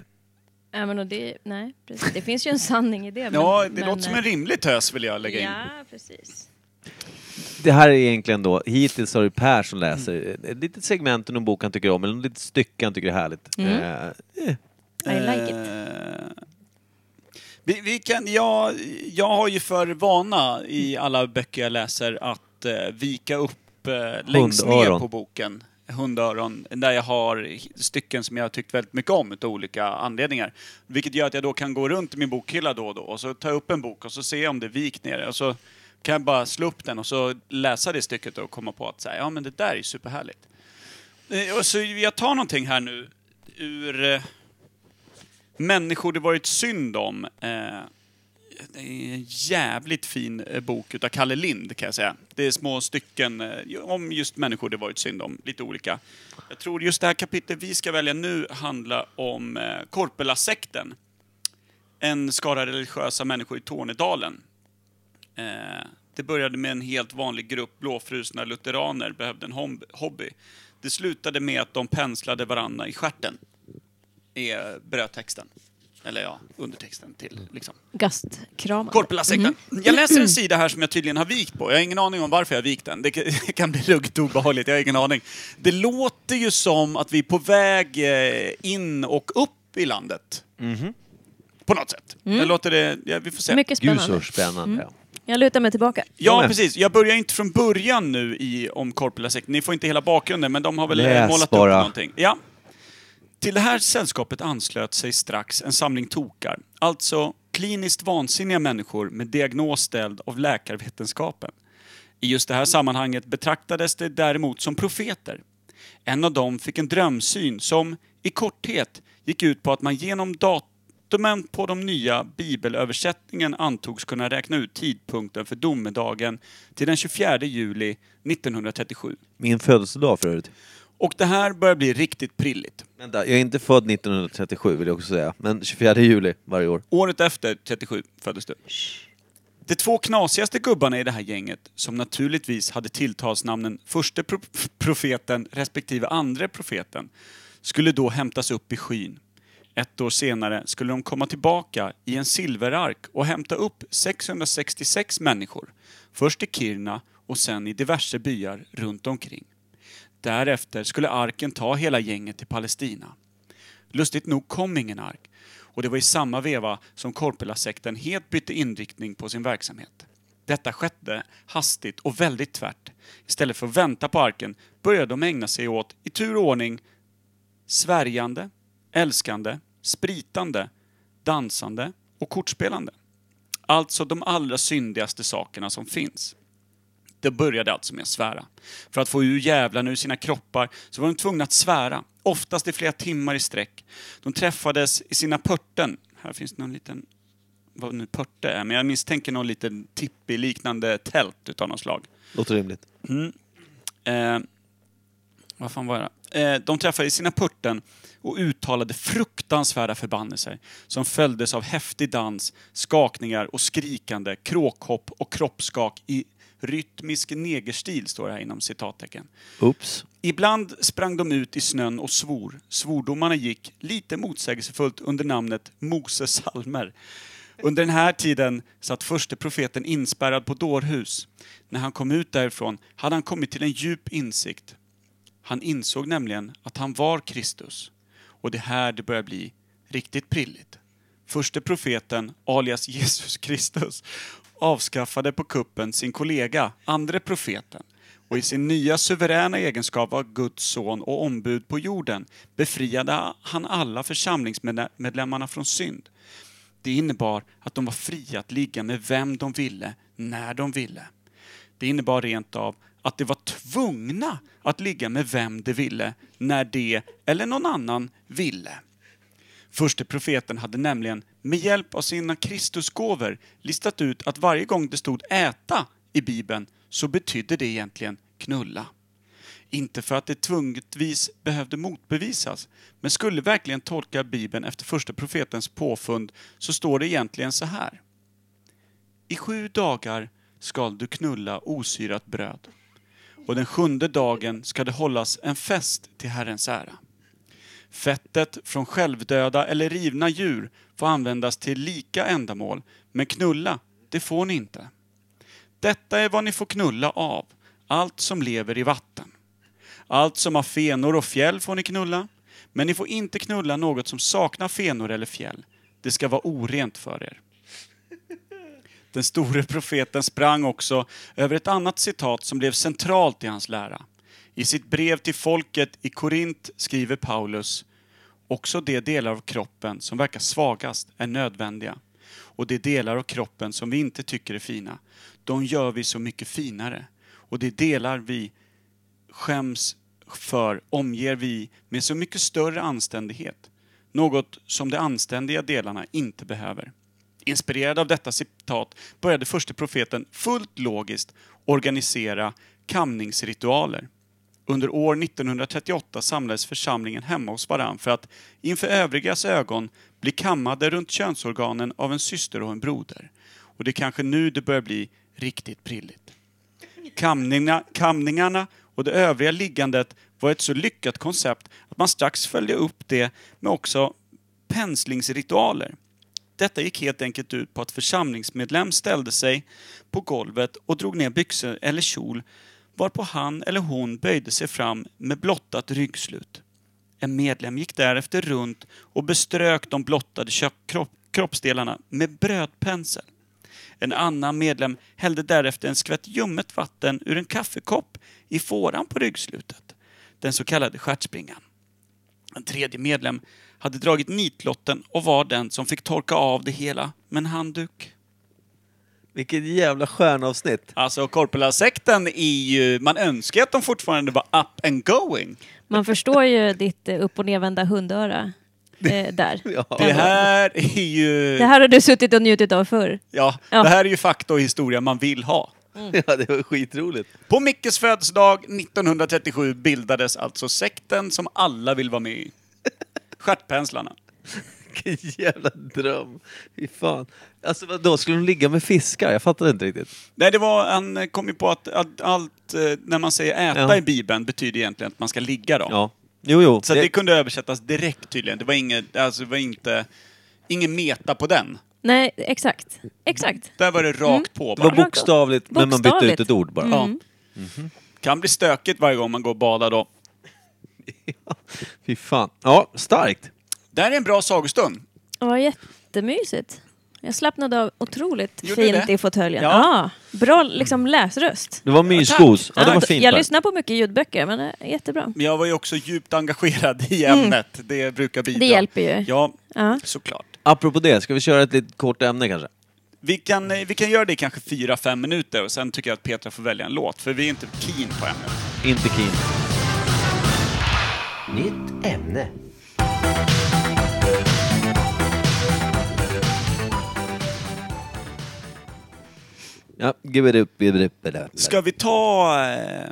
Speaker 1: Ja, men och det, nej, precis. det finns ju en sanning i det. men-
Speaker 3: Ja, det
Speaker 1: men, eh,
Speaker 3: låter som en rimlig tös vill jag lägga in.
Speaker 1: Ja, precis.
Speaker 2: Det här är egentligen då, hittills har det Per som läser ett litet segment ur någon bok han tycker om, eller något litet stycke han tycker är härligt. Eh,
Speaker 1: I like it.
Speaker 3: Eh, Vi, vi kan, jag, jag har ju för vana i alla böcker jag läser att eh, vika upp eh, längst ner
Speaker 2: Hundöron.
Speaker 3: på boken. Hundöron. Där jag har hi- stycken som jag har tyckt väldigt mycket om utav olika anledningar. Vilket gör att jag då kan gå runt i min bokhylla då och då och så ta upp en bok och så se om det är vikt nere. Och så kan jag bara slå upp den och så läsa det stycket och komma på att så här, ja men det där är ju superhärligt. Eh, Och så jag tar någonting här nu ur eh, Människor det varit synd om. Eh, det är en jävligt fin eh, bok utav Kalle Lind kan jag säga. Det är små stycken eh, ju- om just människor det varit synd om, lite olika. Jag tror just det här kapitlet vi ska välja nu handlar om eh, Korpelasekten. En skara religiösa människor i Tornedalen. Eh, det började med en helt vanlig grupp blåfrusna lutheraner behövde en hom- hobby. Det slutade med att de penslade varandra i stjärten. Är brödtexten. Eller ja, undertexten till liksom.
Speaker 1: Mm. Gastkramande.
Speaker 3: Korpelasekten. Jag läser en sida här som jag tydligen har vikt på. Jag har ingen aning om varför jag har vikt den. Det kan- det kan bli ruggigt obehagligt, jag har ingen aning. Det låter ju som att vi är på väg eh, in och upp i landet. På något sätt. Jag låter det, ja, vi får se.
Speaker 1: Mycket
Speaker 2: Gud
Speaker 1: spännande.
Speaker 2: så spännande.
Speaker 1: Jag lutar mig tillbaka.
Speaker 3: Ja,
Speaker 2: med.
Speaker 3: precis. Jag börjar inte från början nu i, om Korpelasekten. Ni får inte hela bakgrunden, men de har väl eh,
Speaker 2: Läs
Speaker 3: målat
Speaker 2: bara.
Speaker 3: upp någonting. Ja. Till det här sällskapet anslöt sig strax en samling tokar. Alltså kliniskt vansinniga människor med diagnos ställd av läkarvetenskapen. I just det här sammanhanget betraktades de däremot som profeter. En av dem fick en drömsyn som, i korthet, gick ut på att man genom datumen på de nya bibelöversättningen antogs kunna räkna ut tidpunkten för domedagen till den 24 juli 1937.
Speaker 2: Min födelsedag för övrigt.
Speaker 3: Och det här börjar bli riktigt prilligt.
Speaker 2: Vänta, jag är inte född 1937 vill jag också säga, men 24 juli varje år.
Speaker 3: Året efter, 37, föddes du. De två knasigaste gubbarna i det här gänget, som naturligtvis hade tilltalsnamnen förste pro- profeten respektive andre profeten, skulle då hämtas upp i skyn. Ett år senare skulle de komma tillbaka i en silverark och hämta upp 666 människor. Först i Kiruna och sen i diverse byar runt omkring. Därefter skulle arken ta hela gänget till Palestina. Lustigt nog kom ingen ark. Och det var i samma veva som Korpelasekten helt bytte inriktning på sin verksamhet. Detta skedde hastigt och väldigt tvärt. Istället för att vänta på arken började de ägna sig åt, i tur och ordning, svärjande, älskande, spritande, dansande och kortspelande. Alltså de allra syndigaste sakerna som finns. De började alltså med att svära. För att få ur djävlarna ur sina kroppar så var de tvungna att svära, oftast i flera timmar i sträck. De träffades i sina pörten. Här finns någon liten, vad nu pörte är, men jag misstänker någon liten tippi-liknande tält utav något slag.
Speaker 2: Låter rimligt.
Speaker 3: Eh, vad fan var det? Eh, de träffade i sina purten och uttalade fruktansvärda förbannelser som följdes av häftig dans, skakningar och skrikande, kråkhopp och kroppsskak i rytmisk negerstil, står det här inom citattecken.
Speaker 2: Oops.
Speaker 3: Ibland sprang de ut i snön och svor. Svordomarna gick, lite motsägelsefullt, under namnet Moses salmer. Under den här tiden satt förste profeten inspärrad på dårhus. När han kom ut därifrån hade han kommit till en djup insikt. Han insåg nämligen att han var Kristus. Och det här det börjar bli riktigt prilligt. Förste profeten, alias Jesus Kristus, avskaffade på kuppen sin kollega, andre profeten och i sin nya suveräna egenskap av Guds son och ombud på jorden befriade han alla församlingsmedlemmarna från synd. Det innebar att de var fria att ligga med vem de ville, när de ville. Det innebar rent av att de var tvungna att ligga med vem de ville, när de eller någon annan ville. Förste profeten hade nämligen med hjälp av sina Kristusgåvor listat ut att varje gång det stod äta i Bibeln så betydde det egentligen knulla. Inte för att det tvungetvis behövde motbevisas, men skulle verkligen tolka Bibeln efter första profetens påfund så står det egentligen så här. I sju dagar skall du knulla osyrat bröd och den sjunde dagen ska det hållas en fest till Herrens ära. Fettet från självdöda eller rivna djur får användas till lika ändamål, men knulla, det får ni inte. Detta är vad ni får knulla av, allt som lever i vatten. Allt som har fenor och fjäll får ni knulla, men ni får inte knulla något som saknar fenor eller fjäll. Det ska vara orent för er. Den store profeten sprang också över ett annat citat som blev centralt i hans lära. I sitt brev till folket i Korint skriver Paulus Också de delar av kroppen som verkar svagast är nödvändiga. Och det är delar av kroppen som vi inte tycker är fina. De gör vi så mycket finare. Och det är delar vi skäms för omger vi med så mycket större anständighet. Något som de anständiga delarna inte behöver. Inspirerad av detta citat började förste profeten fullt logiskt organisera kamningsritualer. Under år 1938 samlades församlingen hemma hos varann för att inför övrigas ögon bli kammade runt könsorganen av en syster och en broder. Och det är kanske nu det börjar bli riktigt prilligt. Kamningarna, kamningarna och det övriga liggandet var ett så lyckat koncept att man strax följde upp det med också penslingsritualer. Detta gick helt enkelt ut på att församlingsmedlem ställde sig på golvet och drog ner byxor eller kjol varpå han eller hon böjde sig fram med blottat ryggslut. En medlem gick därefter runt och beströk de blottade kö- kropp, kroppsdelarna med brödpensel. En annan medlem hällde därefter en skvätt ljummet vatten ur en kaffekopp i fåran på ryggslutet, den så kallade stjärtspringan. En tredje medlem hade dragit nitlotten och var den som fick torka av det hela med en handduk.
Speaker 2: Vilket jävla stjärnavsnitt.
Speaker 3: Alltså Korpela-sekten är ju... Man önskar att de fortfarande var up and going.
Speaker 1: Man förstår ju ditt eh, upp och nedvända hundöra eh, där.
Speaker 3: Det här är ju...
Speaker 1: Det här har du suttit och njutit av förr.
Speaker 3: Ja,
Speaker 1: Ja.
Speaker 3: det här är ju fakta och historia man vill ha.
Speaker 2: Ja, det var skitroligt.
Speaker 3: På Mickes födelsedag 1937 bildades alltså sekten som alla vill vara med i. Stjärtpenslarna.
Speaker 2: Vilken jävla dröm. Fy fan. Alltså vadå, skulle de ligga med fiskar? Jag fattar inte riktigt.
Speaker 3: Nej, det var, han kom ju på att, att allt, eh, när man säger äta
Speaker 2: Ja.
Speaker 3: i Bibeln, betyder egentligen att man ska ligga då.
Speaker 2: Ja. Jo, jo.
Speaker 3: Så det... det kunde översättas direkt tydligen. Det var inget, alltså det var inte, ingen meta på den.
Speaker 1: Nej, exakt. Exakt.
Speaker 3: Där var det rakt
Speaker 1: Mm.
Speaker 3: på
Speaker 2: det
Speaker 3: bara.
Speaker 2: var bokstavligt, men man bytte ut
Speaker 1: Bokstavligt.
Speaker 2: ett ord bara.
Speaker 1: Mm.
Speaker 3: Ja.
Speaker 2: Mhm.
Speaker 3: Kan bli stökigt varje gång man går och badar då.
Speaker 2: Fy fan. Ja, starkt.
Speaker 3: Det här är en bra sagostund.
Speaker 1: Det var jättemysigt. Jag slappnade av otroligt
Speaker 3: Gjorde
Speaker 1: fint
Speaker 3: det?
Speaker 1: i fåtöljen.
Speaker 3: Ja.
Speaker 1: Ja. Bra liksom läsröst.
Speaker 2: Det var mysgos. Ja, det var
Speaker 1: Ja,
Speaker 2: fint.
Speaker 1: jag
Speaker 2: där.
Speaker 1: lyssnar på mycket ljudböcker, men eh, jättebra.
Speaker 3: Men jag var ju också djupt engagerad i ämnet. Det brukar bidra.
Speaker 1: Mm. Det hjälper ju.
Speaker 3: Ja,
Speaker 1: Ja.
Speaker 3: såklart.
Speaker 2: Apropå det, ska vi köra ett litet kort ämne kanske?
Speaker 3: Vi kan, eh, vi kan göra det i kanske fyra fem minuter och sen tycker jag att Petra får välja en låt, för vi är inte keen på ämnet.
Speaker 2: Inte keen.
Speaker 7: Nytt ämne.
Speaker 2: Ja, give it up, give it up.
Speaker 3: Ska vi ta eh,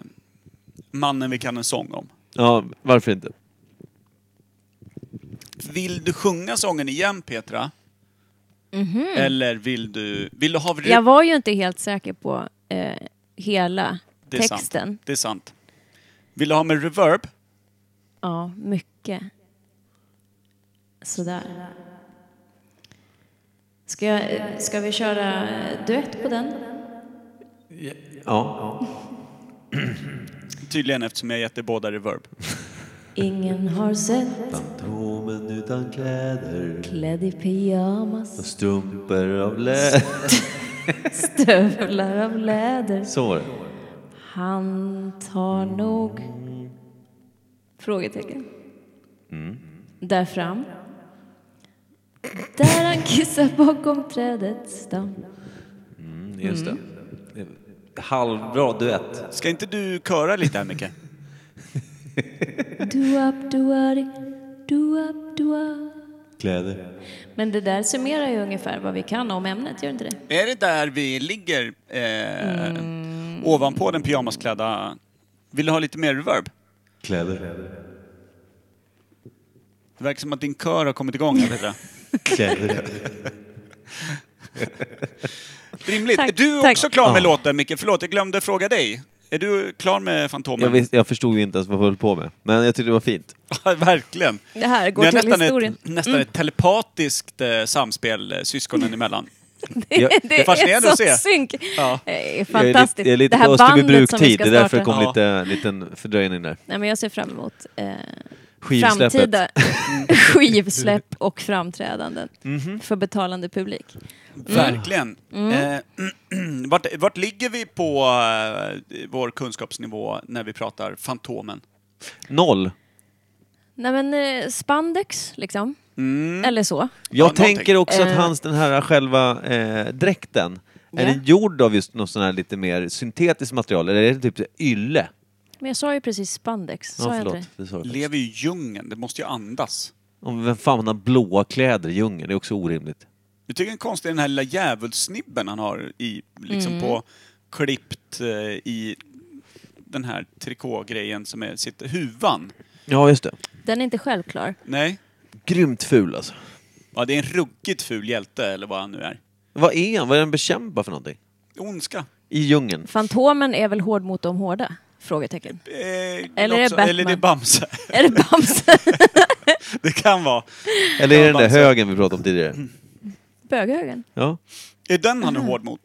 Speaker 3: Mannen vi kan en sång om?
Speaker 2: Ja, varför inte?
Speaker 3: Vill du sjunga sången igen, Petra? Eller vill du... Vill du ha...
Speaker 1: Mhm. Jag var ju inte helt säker på eh, hela
Speaker 3: Det är
Speaker 1: texten.
Speaker 3: Sant. Det är sant. Vill du ha med reverb?
Speaker 1: Ja, mycket. Sådär. Ska, jag, eh, ska vi köra eh, duett på den?
Speaker 2: Ja.
Speaker 3: Tydligen eftersom jag gett er båda reverb.
Speaker 1: Ingen har sett
Speaker 2: Fantomen utan kläder
Speaker 1: klädd i pyjamas,
Speaker 2: och strumpor av lä...
Speaker 1: stövlar av läder.
Speaker 2: Så var det.
Speaker 1: Han tar nog... Frågetecken.
Speaker 3: Mm.
Speaker 1: Där fram. Där han kissar bakom trädets stam.
Speaker 2: Mm, Just det. Mm. Halvbra duett.
Speaker 3: Ska inte du köra lite här, Micke?
Speaker 1: Duap, duari, duap, duap.
Speaker 2: Kläder.
Speaker 1: Men det där summerar ju ungefär vad vi kan om ämnet, gör inte det?
Speaker 3: Är det där vi ligger eh,
Speaker 1: Mm.
Speaker 3: ovanpå den pyjamasklädda... Vill du ha lite mer reverb?
Speaker 2: Kläder.
Speaker 3: Det verkar som att din kör har kommit igång. här, Petra.
Speaker 2: Kläder.
Speaker 3: Rimligt.
Speaker 1: Tack,
Speaker 3: är du
Speaker 1: tack.
Speaker 3: också klar med
Speaker 2: Ja.
Speaker 3: låten, Micke? Förlåt, jag glömde fråga dig. Är du klar med Fantomen?
Speaker 2: Jag, visste, jag förstod ju inte ens vad jag höll på med, men jag tyckte det var fint.
Speaker 3: Ja, Verkligen.
Speaker 1: Det här går
Speaker 3: Ni har
Speaker 1: till
Speaker 3: nästan
Speaker 1: historien. Mm.
Speaker 3: Ett, nästan ett telepatiskt eh, samspel eh, syskonen emellan.
Speaker 2: Jag,
Speaker 1: det
Speaker 3: fascinerande
Speaker 1: är
Speaker 3: att se.
Speaker 1: sån synk.
Speaker 3: Ja.
Speaker 1: Det är
Speaker 2: jag är lite,
Speaker 1: fantastiskt.
Speaker 2: jag är lite
Speaker 1: det här
Speaker 2: på
Speaker 1: bandet som vi
Speaker 2: Österbybruk-tid,
Speaker 1: ska
Speaker 2: det är därför det
Speaker 1: starta.
Speaker 2: kom
Speaker 3: Ja.
Speaker 2: lite liten fördröjning där.
Speaker 1: Nej, men jag ser fram emot eh,
Speaker 2: Skivsläppet.
Speaker 1: framtida skivsläpp och framträdanden
Speaker 3: Mhm.
Speaker 1: för betalande publik. Mm.
Speaker 3: Verkligen. Eh, vart, vart ligger vi på eh, vår kunskapsnivå när vi pratar Fantomen?
Speaker 2: Noll.
Speaker 1: Nej men eh, spandex liksom.
Speaker 3: Mm.
Speaker 1: Eller så.
Speaker 2: Jag
Speaker 3: Ja,
Speaker 2: tänker
Speaker 3: någonting.
Speaker 2: också att
Speaker 1: Eh.
Speaker 2: hans, den här själva eh, dräkten,
Speaker 1: Ja.
Speaker 2: är den gjord av just något sån här lite mer syntetiskt material eller är det typ ylle?
Speaker 1: Men jag sa ju precis spandex. Sa
Speaker 2: Ja,
Speaker 1: jag inte
Speaker 2: förlåt.
Speaker 1: det?
Speaker 2: Det sa jag faktiskt.
Speaker 3: Lever ju i djungeln, det måste ju andas.
Speaker 2: Om vem fan har blåa kläder i djungeln? Det är också orimligt.
Speaker 3: Jag tycker den konstig den här lilla djävulsnibben han har i, liksom
Speaker 1: Mm.
Speaker 3: på, klippt eh, i den här trikågrejen som är sitt, huvan.
Speaker 2: Ja, just det.
Speaker 1: Den är inte självklar.
Speaker 3: Nej,
Speaker 2: Grymt ful alltså.
Speaker 3: ja, det är en ruggigt ful hjälte eller vad han nu är.
Speaker 2: Vad är han? Vad är han bekämpar för någonting?
Speaker 3: Ondska.
Speaker 2: I djungeln?
Speaker 1: Fantomen är väl hård mot de hårda? Frågetecken.
Speaker 3: Eh,
Speaker 1: Eller är det Batman?
Speaker 3: eller det är Bamse.
Speaker 1: Är det Bamse?
Speaker 3: Det kan vara.
Speaker 2: Eller är det den där
Speaker 3: Bamse. Mm.
Speaker 2: högen vi pratade om tidigare?
Speaker 1: Böghögen?
Speaker 2: Ja.
Speaker 3: Är den han är hård mot?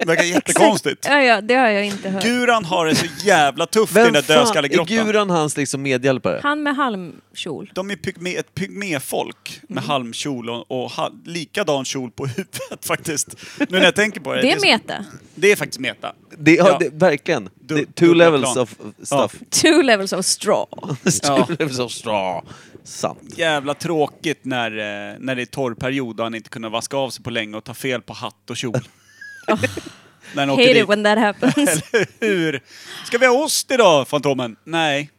Speaker 3: Det verkar jättekonstigt.
Speaker 1: Ja, ja, det har jag inte hört.
Speaker 3: Guran har det så jävla tufft i den
Speaker 2: Vem
Speaker 3: där
Speaker 2: fan är
Speaker 3: dödskallegrottan.
Speaker 2: Guran hans liksom medhjälpare?
Speaker 1: Han med halmkjol.
Speaker 3: De är pygme, ett pygméfolk
Speaker 1: Mhm.
Speaker 3: med halmkjol och, och ha, likadan kjol på huvudet faktiskt. Nu när jag tänker på det.
Speaker 1: Det är
Speaker 3: så-
Speaker 1: meta.
Speaker 3: det är faktiskt meta.
Speaker 2: Det, ja,
Speaker 3: Ja.
Speaker 2: det, verkligen.
Speaker 3: Du-
Speaker 2: det, two
Speaker 3: dubbla
Speaker 2: levels
Speaker 3: plan.
Speaker 2: of stuff.
Speaker 1: Two levels of straw.
Speaker 3: Ja.
Speaker 2: two levels of straw. Sant.
Speaker 3: Jävla tråkigt när, eh, när det är torrperiod och han inte kunde vaska av sig på länge och ta fel på hatt och kjol. när han åker
Speaker 1: Oh. Hate
Speaker 3: dit.
Speaker 1: it when that happens.
Speaker 3: Hur? Ska vi ha ost idag, Fantomen? Nej.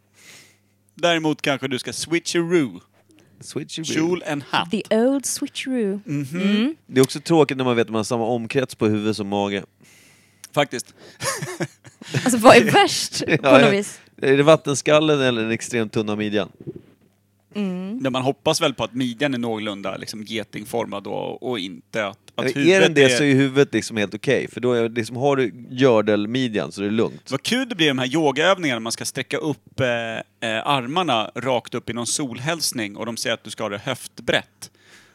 Speaker 3: Däremot kanske du ska switcheroo.
Speaker 2: Switcheroo.
Speaker 3: Kjol and hatt.
Speaker 1: The old switcheroo.
Speaker 2: Det är också tråkigt när man vet att man har samma omkrets på huvud som mage.
Speaker 3: Faktiskt.
Speaker 1: Alltså vad är värst på
Speaker 2: Ja, ja.
Speaker 1: något vis?
Speaker 2: Är det vattenskallen eller den extremt tunna midjan?
Speaker 1: Mm.
Speaker 3: Men man hoppas väl på att midjan är någorlunda liksom, getingformad och, och inte att, att
Speaker 2: Eller är
Speaker 3: huvudet
Speaker 2: den det så är huvudet liksom helt okej, för då är liksom, har du gördelmidjan så är det lugnt.
Speaker 3: Vad kul det blir de här yogaövningarna när man ska sträcka upp eh, eh, armarna rakt upp i någon solhälsning och de säger att du ska ha det höftbrett.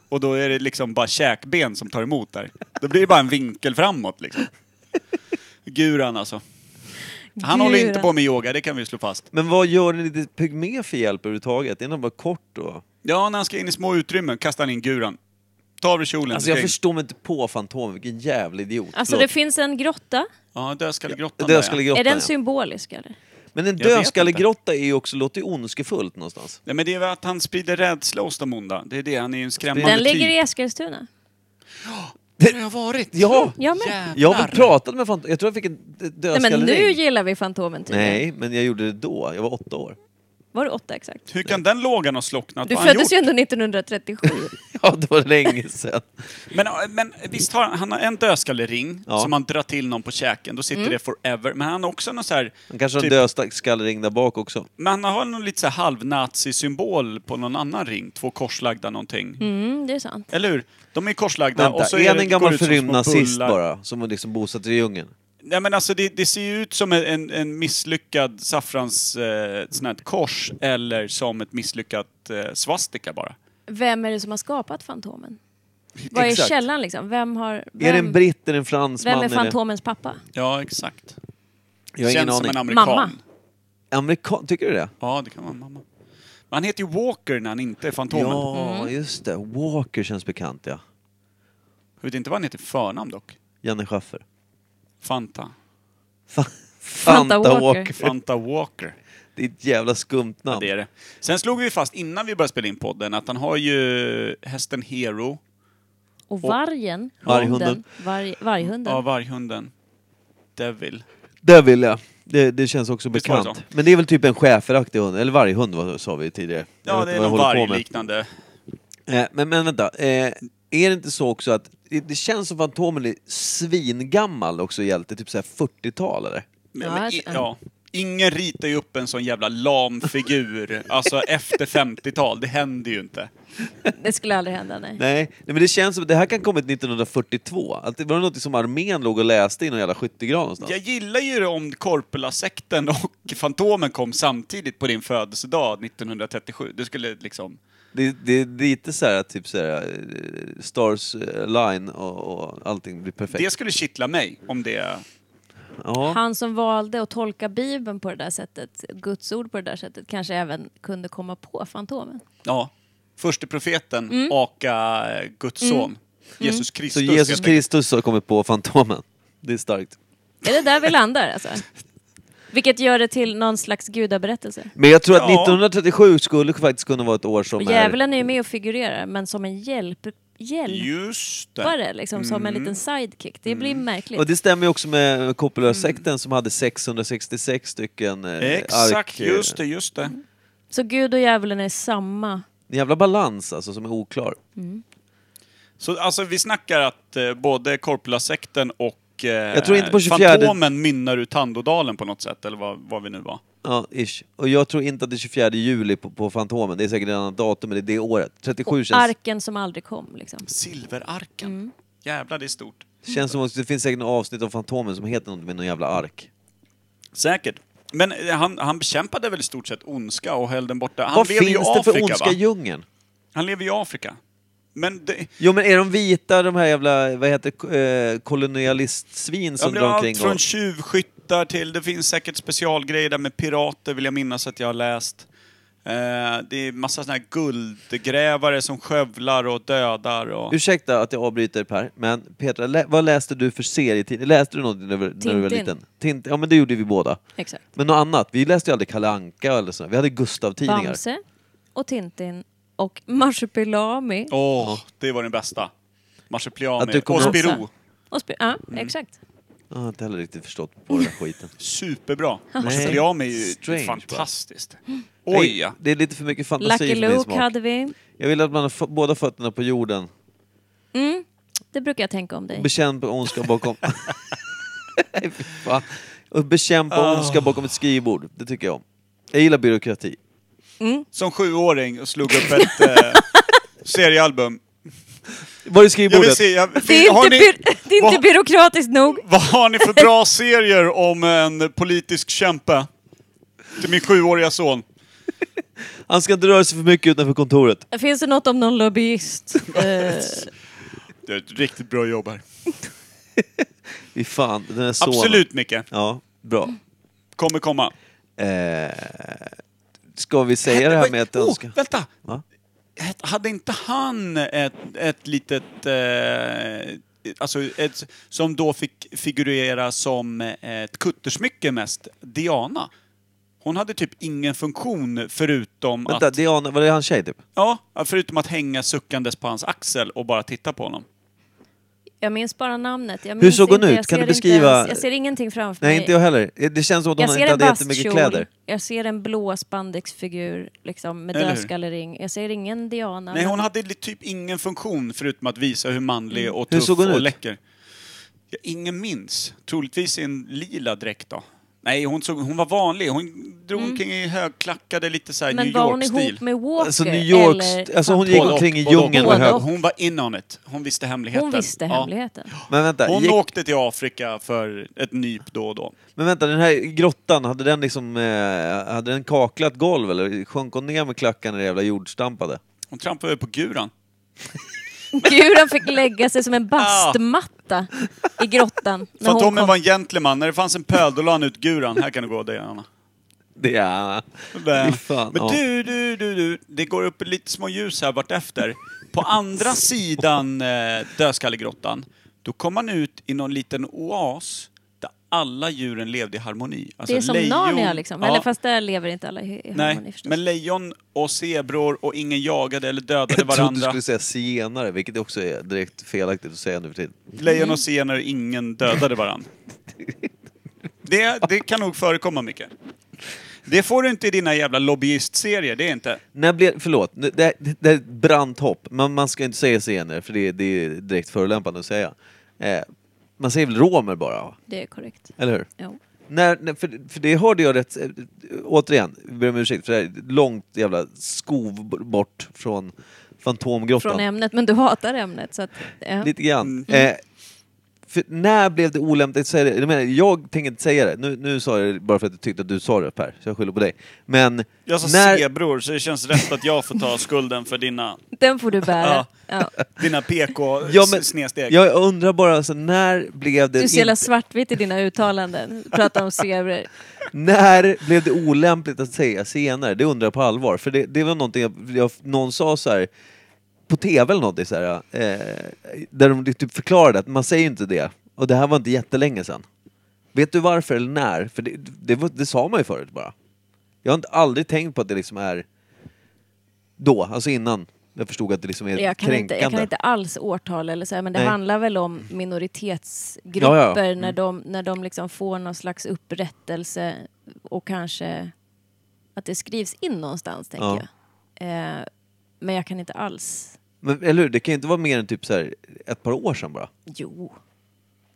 Speaker 3: Och då är det liksom bara käkben som tar emot där. Då blir det bara en vinkel framåt liksom. Guran alltså. Han håller inte
Speaker 1: Guran.
Speaker 3: på med yoga, det kan vi slå fast.
Speaker 2: Men vad gör en liten pygmé för hjälp överhuvudtaget? Är den bara kort och...
Speaker 3: Ja, när han ska in i små utrymmen kastar han in guran. Ta av dig kjolen.
Speaker 2: Alltså
Speaker 3: du
Speaker 2: jag
Speaker 3: ska in.
Speaker 2: förstår mig inte på Fantomen, vilken jävla idiot.
Speaker 1: Alltså det finns en grotta.
Speaker 3: Ja, dödskallegrottan där, ja.
Speaker 2: Dödskallegrottan,
Speaker 1: Är den
Speaker 2: ja.
Speaker 1: symbolisk eller?
Speaker 2: Men en
Speaker 3: Jag vet
Speaker 2: dödskallegrotta är ju också, låter ju ondskefullt någonstans.
Speaker 3: Nej, men det är väl att han sprider rädsla hos de onda. Det är det, han är ju en skrämmande
Speaker 1: Den ligger
Speaker 3: typ.
Speaker 1: i Eskilstuna.
Speaker 3: Där har jag varit.
Speaker 2: Ja!
Speaker 1: Jag med.
Speaker 2: Jag har väl pratat med Fantomen, jag tror jag fick en d-
Speaker 1: Nej, men
Speaker 2: dödskallering.
Speaker 1: nu gillar vi Fantomen tydligen.
Speaker 2: Nej, men jag gjorde det då. Jag var åtta år.
Speaker 1: Var det åtta exakt?
Speaker 3: Hur kan den lågan ha slocknat?
Speaker 1: Du
Speaker 3: Vad har han
Speaker 1: föddes ju
Speaker 3: gjort?
Speaker 1: ändå 1937.
Speaker 2: Ja, det var länge sedan.
Speaker 3: Men, men visst har han, han har en dödskallering
Speaker 2: Ja. Mm.
Speaker 3: som han drar till någon på käken, då sitter det forever. Men han har också någon så här...
Speaker 2: Man kanske har en
Speaker 3: Typ.
Speaker 2: dödskallering där bak också.
Speaker 3: Men han har någon lite så här halvnazi-symbol på någon annan ring. Två korslagda någonting.
Speaker 1: Mm, det är sant.
Speaker 3: Eller hur? De är korslagda
Speaker 2: Vänta,
Speaker 3: och så
Speaker 2: är
Speaker 3: är
Speaker 2: han
Speaker 3: det,
Speaker 2: en
Speaker 3: går
Speaker 2: gammal
Speaker 3: ut som små
Speaker 2: förrymd nazist
Speaker 3: bullar.
Speaker 2: bara? Som har liksom bosatt sig i djungeln?
Speaker 3: Nej men alltså det, det ser ju ut som en- en, en misslyckad saffrans eh, sån här kors eller som ett misslyckat eh, svastika bara.
Speaker 1: Vem är det som har skapat Fantomen? Vad är
Speaker 2: Exakt.
Speaker 1: källan liksom? Vem har... Vem,
Speaker 2: Är det en britt, är det en fransman?
Speaker 1: vem är
Speaker 2: det-
Speaker 1: Fantomens pappa?
Speaker 3: Ja, exakt.
Speaker 2: Jag har ingen
Speaker 3: Känns som
Speaker 2: aning.
Speaker 3: en amerikan.
Speaker 1: Mamma.
Speaker 2: Amerikan, tycker du det?
Speaker 3: Ja, det kan vara mamma. Men han heter ju Walker när han inte är Fantomen.
Speaker 2: Ja,
Speaker 1: Mm.
Speaker 2: just det. Walker känns bekant, ja.
Speaker 3: Jag vet inte vad han heter i förnamn dock.
Speaker 2: Janne Schaffer.
Speaker 3: Fanta.
Speaker 2: Fa- Fanta
Speaker 1: Walker.
Speaker 2: Walker.
Speaker 3: Fanta Walker.
Speaker 2: Det är ett jävla skumt namn.
Speaker 3: Det är det. Sen slog vi fast innan vi började spela in podden att han har ju hästen Hero,
Speaker 1: Och vargen?
Speaker 2: Varghunden.
Speaker 1: hunden, Varg, varghunden.
Speaker 3: ja, varghunden, Devil.
Speaker 2: det vill jag. Det, det känns också
Speaker 3: Visst var det
Speaker 2: bekant. Men det är väl typ en schäferaktig hund, eller varghund vad sa vi tidigare. Jag
Speaker 3: Ja,
Speaker 2: vet
Speaker 3: det är
Speaker 2: inte vad
Speaker 3: någon
Speaker 2: jag håller på med.
Speaker 3: vargliknande.
Speaker 2: Eh, Men, men vänta, eh, är det inte så också att det, det känns som Fantomen är svingammal också hjälte, typ såhär 40-tal eller?
Speaker 3: Men,
Speaker 1: Ja,
Speaker 3: men, i,
Speaker 1: ett-
Speaker 3: ja. Ingen ritar ju upp en sån jävla lam figur, alltså efter 50-tal. Det händer ju inte.
Speaker 1: Det skulle aldrig hända, nej.
Speaker 2: Nej, nej men det känns som att det här kan kommit 1942. Att det var något som armén låg och läste i någon jävla skyttegran någonstans.
Speaker 3: Jag gillar ju det om Korpela-sekten och Fantomen kom samtidigt på din födelsedag 1937. Det skulle liksom...
Speaker 2: Det, det, det är lite såhär typ såhär eh, Stars eh, line och, och allting blir perfekt.
Speaker 3: Det skulle kittla mig om det...
Speaker 2: Ja.
Speaker 1: Han som valde att tolka Bibeln på det där sättet, Guds ord på det där sättet, kanske även kunde komma på Fantomen.
Speaker 3: Ja. Förste profeten, aka eh, Guds son. Jesus
Speaker 2: Så
Speaker 3: Kristus.
Speaker 2: Jesus
Speaker 3: helt enkelt.
Speaker 2: Kristus har kommit på Fantomen. Det är starkt.
Speaker 1: Är det där vi landar alltså? Vilket gör det till någon slags gudaberättelse.
Speaker 2: Men jag tror att
Speaker 3: Ja.
Speaker 2: 1937 skulle faktiskt kunna vara ett år som
Speaker 1: Och
Speaker 2: är...
Speaker 1: djävulen är ju med och figurerar, men som en hjälp, hjälpare,
Speaker 3: Just det.
Speaker 1: liksom, som en liten sidekick. Det blir märkligt.
Speaker 2: Och det stämmer ju också med
Speaker 3: Mm.
Speaker 2: Coppola-sekten som hade 666 stycken eh,
Speaker 3: Exakt,
Speaker 2: ark, eh,
Speaker 3: just det, just det.
Speaker 1: Så Gud och djävulen är samma.
Speaker 2: En jävla balans alltså som är oklar.
Speaker 3: Så alltså, vi snackar att eh, både Korpula-sekten och eh,
Speaker 2: Jag tror inte på 24.
Speaker 3: Fantomen mynnar ut Tandodalen på något sätt, eller vad, vad vi nu var.
Speaker 2: Ja, ish. Och jag tror inte att det är 24 juli på, på Fantomen. Det är säkert ett annat datum, men det är det året. 37
Speaker 1: Och
Speaker 2: känns,
Speaker 1: arken som aldrig kom. Liksom.
Speaker 3: Silverarken. Jävlar, det är stort.
Speaker 2: känns som att det finns säkert något avsnitt av Fantomen som heter något med någon jävla ark.
Speaker 3: Säkert. Men eh, han, han bekämpade väl i stort sett ondska och höll den borta. Han
Speaker 2: Vad
Speaker 3: lever ju i
Speaker 2: finns det för
Speaker 3: Afrika,
Speaker 2: ondska
Speaker 3: va?
Speaker 2: i djungeln?
Speaker 3: Han lever i Afrika. Men det,
Speaker 2: Jo men är de vita, de här jävla, vad heter det, eh, kolonialistsvin
Speaker 3: jag
Speaker 2: som
Speaker 3: blir
Speaker 2: drar omkring?
Speaker 3: allt från
Speaker 2: och-
Speaker 3: tjuvskyttar till, det finns säkert specialgrejer där med pirater vill jag minnas att jag har läst. Eh, det är massa såna här guldgrävare som skövlar och dödar och...
Speaker 2: Ursäkta att jag avbryter Per, men Petra, lä- vad läste du för serietidning? Läste du någonting när, du- när du var
Speaker 1: Tintin.
Speaker 2: liten? Tintin. Ja men det gjorde vi båda.
Speaker 1: Exakt.
Speaker 2: Men något annat? Vi läste ju aldrig Kalle Anka eller sådär. Vi hade Gustav-tidningar.
Speaker 1: Bamse och Tintin och Marsupilami.
Speaker 3: Åh, det var den bästa.
Speaker 2: Att
Speaker 3: Marsupilami
Speaker 2: du kommer
Speaker 3: och
Speaker 2: ihåg-
Speaker 3: Spiro.
Speaker 1: Och spe- ja,
Speaker 2: Mm.
Speaker 1: exakt.
Speaker 2: Jag har inte heller riktigt förstått på den där skiten.
Speaker 3: Superbra. Marsupilami är ju
Speaker 2: Strange, va?
Speaker 3: fantastiskt. Oj ja.
Speaker 2: Det är lite för mycket fantasi
Speaker 1: Lucky
Speaker 2: för min
Speaker 1: Luke
Speaker 2: smak.
Speaker 1: hade vi.
Speaker 2: Jag vill att man har fo- båda fötterna på jorden.
Speaker 1: Mm, det brukar jag tänka om dig.
Speaker 2: Bekämpa ondska bakom... Nej, fy fan. Och bekämpa ondska bakom ett skrivbord. Det tycker jag om. Jag gillar byråkrati.
Speaker 3: Som sjuåring och slog upp ett eh, seriealbum.
Speaker 2: Var är
Speaker 3: Jag vill
Speaker 2: skrivbordet?
Speaker 3: se, jag,
Speaker 1: Det är,
Speaker 3: har
Speaker 1: inte,
Speaker 3: ni,
Speaker 1: by- det är inte
Speaker 3: Vad-
Speaker 1: byråkratiskt nog.
Speaker 3: vad har ni för bra serier om en politisk kämpe? Till min sjuåriga son.
Speaker 2: Han ska inte röra sig för mycket utanför kontoret.
Speaker 1: Finns det något om någon lobbyist? Eh,
Speaker 3: Det är ett riktigt bra jobb här.
Speaker 2: Fy fan, den är sonen.
Speaker 3: Absolut Micke.
Speaker 2: Ja, bra.
Speaker 3: Kommer komma.
Speaker 2: Eh, ska vi säga det här med att
Speaker 3: Oh,
Speaker 2: önska?
Speaker 3: vänta!
Speaker 2: Va?
Speaker 3: Ett- Hade inte han ett, ett litet... Eh, alltså ett, som då fick figurera som ett kuttersmycke mest, Diana. Hon hade typ ingen funktion förutom
Speaker 2: Vänta,
Speaker 3: att...
Speaker 2: Diana, var det hans tjej typ?
Speaker 3: Ja, förutom att hänga suckandes på hans axel och bara titta på honom.
Speaker 1: jag minns bara namnet. Jag
Speaker 2: Hur
Speaker 1: minns
Speaker 2: såg hon
Speaker 1: inte,
Speaker 2: ut?
Speaker 1: jag
Speaker 2: Kan
Speaker 1: ser
Speaker 2: du
Speaker 1: inte
Speaker 2: beskriva-
Speaker 1: ens- Jag ser ingenting framför
Speaker 2: Nej,
Speaker 1: mig.
Speaker 2: inte jag heller. Det känns som att
Speaker 1: Jag
Speaker 2: hon
Speaker 1: ser
Speaker 2: inte
Speaker 1: en
Speaker 2: hade jättemycket
Speaker 1: bastkjol,
Speaker 2: kläder.
Speaker 1: jag ser en blå spandexfigur liksom, med
Speaker 3: Eller hur?
Speaker 1: dödskallering. Jag ser ingen Diana.
Speaker 3: Nej,
Speaker 1: men-
Speaker 3: hon hade li- typ ingen funktion förutom att visa hur
Speaker 1: Mm.
Speaker 3: manlig och
Speaker 2: Hur
Speaker 3: tuff
Speaker 2: såg hon
Speaker 3: och
Speaker 2: ut?
Speaker 3: läcker. Ja, ingen minns. Troligtvis i en lila dräkt då. Nej, hon, såg, hon var vanlig. Hon drog omkring i högklackade, lite såhär
Speaker 1: Mm. Men
Speaker 3: New
Speaker 1: var hon
Speaker 3: York-stil.
Speaker 1: ihop med Walker?
Speaker 2: Alltså New York...
Speaker 1: eller
Speaker 2: Alltså
Speaker 1: Fantomen?
Speaker 2: hon gick
Speaker 3: Både
Speaker 2: omkring i
Speaker 3: och, både och,
Speaker 2: djungeln och
Speaker 1: både
Speaker 2: höll.
Speaker 1: och.
Speaker 3: Hon var in on it. Hon visste hemligheten.
Speaker 1: Hon visste
Speaker 3: Ja.
Speaker 1: hemligheten.
Speaker 2: Men vänta,
Speaker 3: Hon
Speaker 2: gick,
Speaker 3: åkte till Afrika för ett nyp då och då.
Speaker 2: men vänta, den här grottan, hade den liksom... Eh, hade den kaklat golv eller sjönk hon ner med klackarna i det jävla jordstampade?
Speaker 3: Hon trampade på guran.
Speaker 1: Guran fick lägga sig som en bastmatta i grottan. När hon
Speaker 3: Fantomen
Speaker 1: kom.
Speaker 3: var en gentleman. När det fanns en pöl, då la han ut guran. Här kan du gå, Diana.
Speaker 2: Det är...
Speaker 3: Men,
Speaker 2: Fy fan,
Speaker 3: men
Speaker 2: ja.
Speaker 3: du, du, du, du. Det går upp lite små ljus här vartefter. På andra sidan eh, Dödskallegrottan, då kom man ut i någon liten oas där alla djuren levde i harmoni. Alltså
Speaker 1: det är som
Speaker 3: lejon-
Speaker 1: Narnia liksom.
Speaker 3: Ja,
Speaker 1: Eller fast där lever inte alla i i harmoni
Speaker 3: Nej,
Speaker 1: förstås.
Speaker 3: men lejon och zebror och ingen jagade eller dödade
Speaker 2: Jag trodde du
Speaker 3: varandra.
Speaker 2: skulle säga zigenare, vilket också är direkt felaktigt att säga nu för tiden.
Speaker 3: Lejon och senare och ingen dödade varandra. Det, det kan nog förekomma mycket. Det får du inte i dina jävla lobbyistserier, det är inte.
Speaker 2: När blev, förlåt, det, det, det är ett brant hopp, men man ska inte säga zigenare för det, det är direkt förolämpande att säga. Eh, man säger väl romer bara, va?
Speaker 1: Det är korrekt.
Speaker 2: eller hur?
Speaker 1: Jo.
Speaker 2: När, när, för, för det hörde jag rätt, eh, återigen, vi ber om ursäkt för det här är långt jävla skov b- bort från Fantomgrottan.
Speaker 1: Från ämnet, men du hatar ämnet. Så att, ja.
Speaker 2: Lite grann.
Speaker 3: Mm.
Speaker 2: Eh, för när blev det olämpligt att säga det? Jag, menar, jag tänker inte säga det, nu, nu sa jag det bara för att jag tyckte att du sa det Per, så jag skyller på dig. Men
Speaker 3: Jag sa
Speaker 2: när,
Speaker 3: zebror, så det känns rätt att jag får ta skulden för dina,
Speaker 1: Den får du bära.
Speaker 3: Ja.
Speaker 1: Ja.
Speaker 3: dina PK-snedsteg.
Speaker 2: Ja, men- jag undrar bara, alltså, när blev det...
Speaker 1: Du är så jävla
Speaker 2: in-
Speaker 1: svartvit i dina uttalanden. Du Pratar om zebror.
Speaker 2: När blev det olämpligt att säga senare? Det undrar jag på allvar. För det, det var någonting jag, jag, någon sa så här på tv eller någonting så här, eh, där de typ förklarade att man säger inte det. Och det här var inte jättelänge sedan. Vet du varför eller när? För det, det, var- det sa man ju förut bara. Jag har inte, aldrig tänkt på att det liksom är då, alltså innan jag förstod att det liksom är
Speaker 1: Jag kan, inte,
Speaker 2: kränkande.
Speaker 1: jag kan inte alls årtal eller så här, men det
Speaker 2: Nej.
Speaker 1: handlar väl om minoritetsgrupper
Speaker 2: Ja, ja, ja. Mm.
Speaker 1: när de, när de liksom får någon slags upprättelse och kanske att det skrivs in någonstans, tänker
Speaker 2: Ja.
Speaker 1: jag. Eh, men jag kan inte alls...
Speaker 2: Men, eller hur? Det kan ju inte vara mer än typ så här ett par år sedan bara.
Speaker 1: Jo.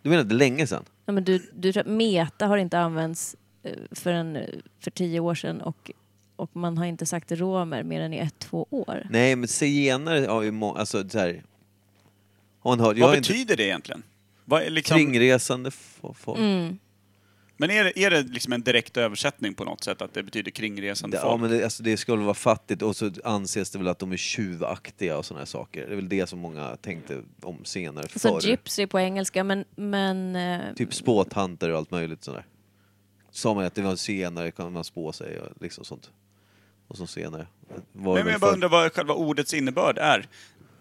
Speaker 2: Du menar det är länge sedan?
Speaker 1: Ja, men du, du, tror att meta har inte använts eh, förrän eh, för tio år sedan och, och man har inte sagt romer mer än i ett, två år.
Speaker 2: Nej, men zigenare har ju må- alltså så här... Har man hört? Jag
Speaker 3: Vad
Speaker 2: har
Speaker 3: betyder
Speaker 2: inte...
Speaker 3: det egentligen? Vad är liksom,
Speaker 2: Kringresande fo- folk.
Speaker 3: Men är det, är det liksom en direkt översättning på något sätt, att det betyder kringresande
Speaker 2: Ja,
Speaker 3: folk?
Speaker 2: men det, alltså, det skulle vara fattigt och så anses det väl att de är tjuvaktiga och sådana här saker. Det är väl det som många tänkte om senare förr.
Speaker 1: Så gypsy på engelska, men... men eh,
Speaker 2: Typ spåtanter och allt möjligt sådär. Sa man att det var senare kan man spå sig och liksom sånt. Och så senare. Var det
Speaker 3: Nej, men jag
Speaker 2: väl
Speaker 3: bara
Speaker 2: för-
Speaker 3: undrar vad själva ordets innebörd är.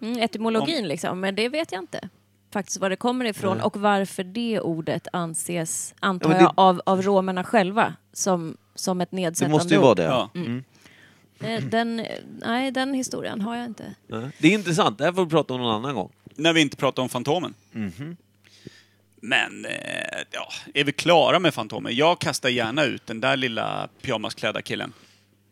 Speaker 1: Mm, etymologin liksom, men det vet jag inte. Faktiskt var det kommer ifrån och varför det ordet anses, antar
Speaker 2: Ja, men det-
Speaker 1: jag, av, av romerna själva som, som ett
Speaker 2: det
Speaker 1: nedsättande
Speaker 2: måste ju vara
Speaker 1: ord.
Speaker 2: det.
Speaker 3: Ja.
Speaker 2: Mm.
Speaker 1: Eh, Den, eh, nej, den historien har jag inte.
Speaker 2: Nej. Det är intressant, det här får vi prata om någon annan gång.
Speaker 3: När vi inte pratar om Fantomen.
Speaker 2: Mm-hmm.
Speaker 3: Men, eh, ja, är vi klara med Fantomen? Jag kastar gärna ut den där lilla pyjamasklädda killen.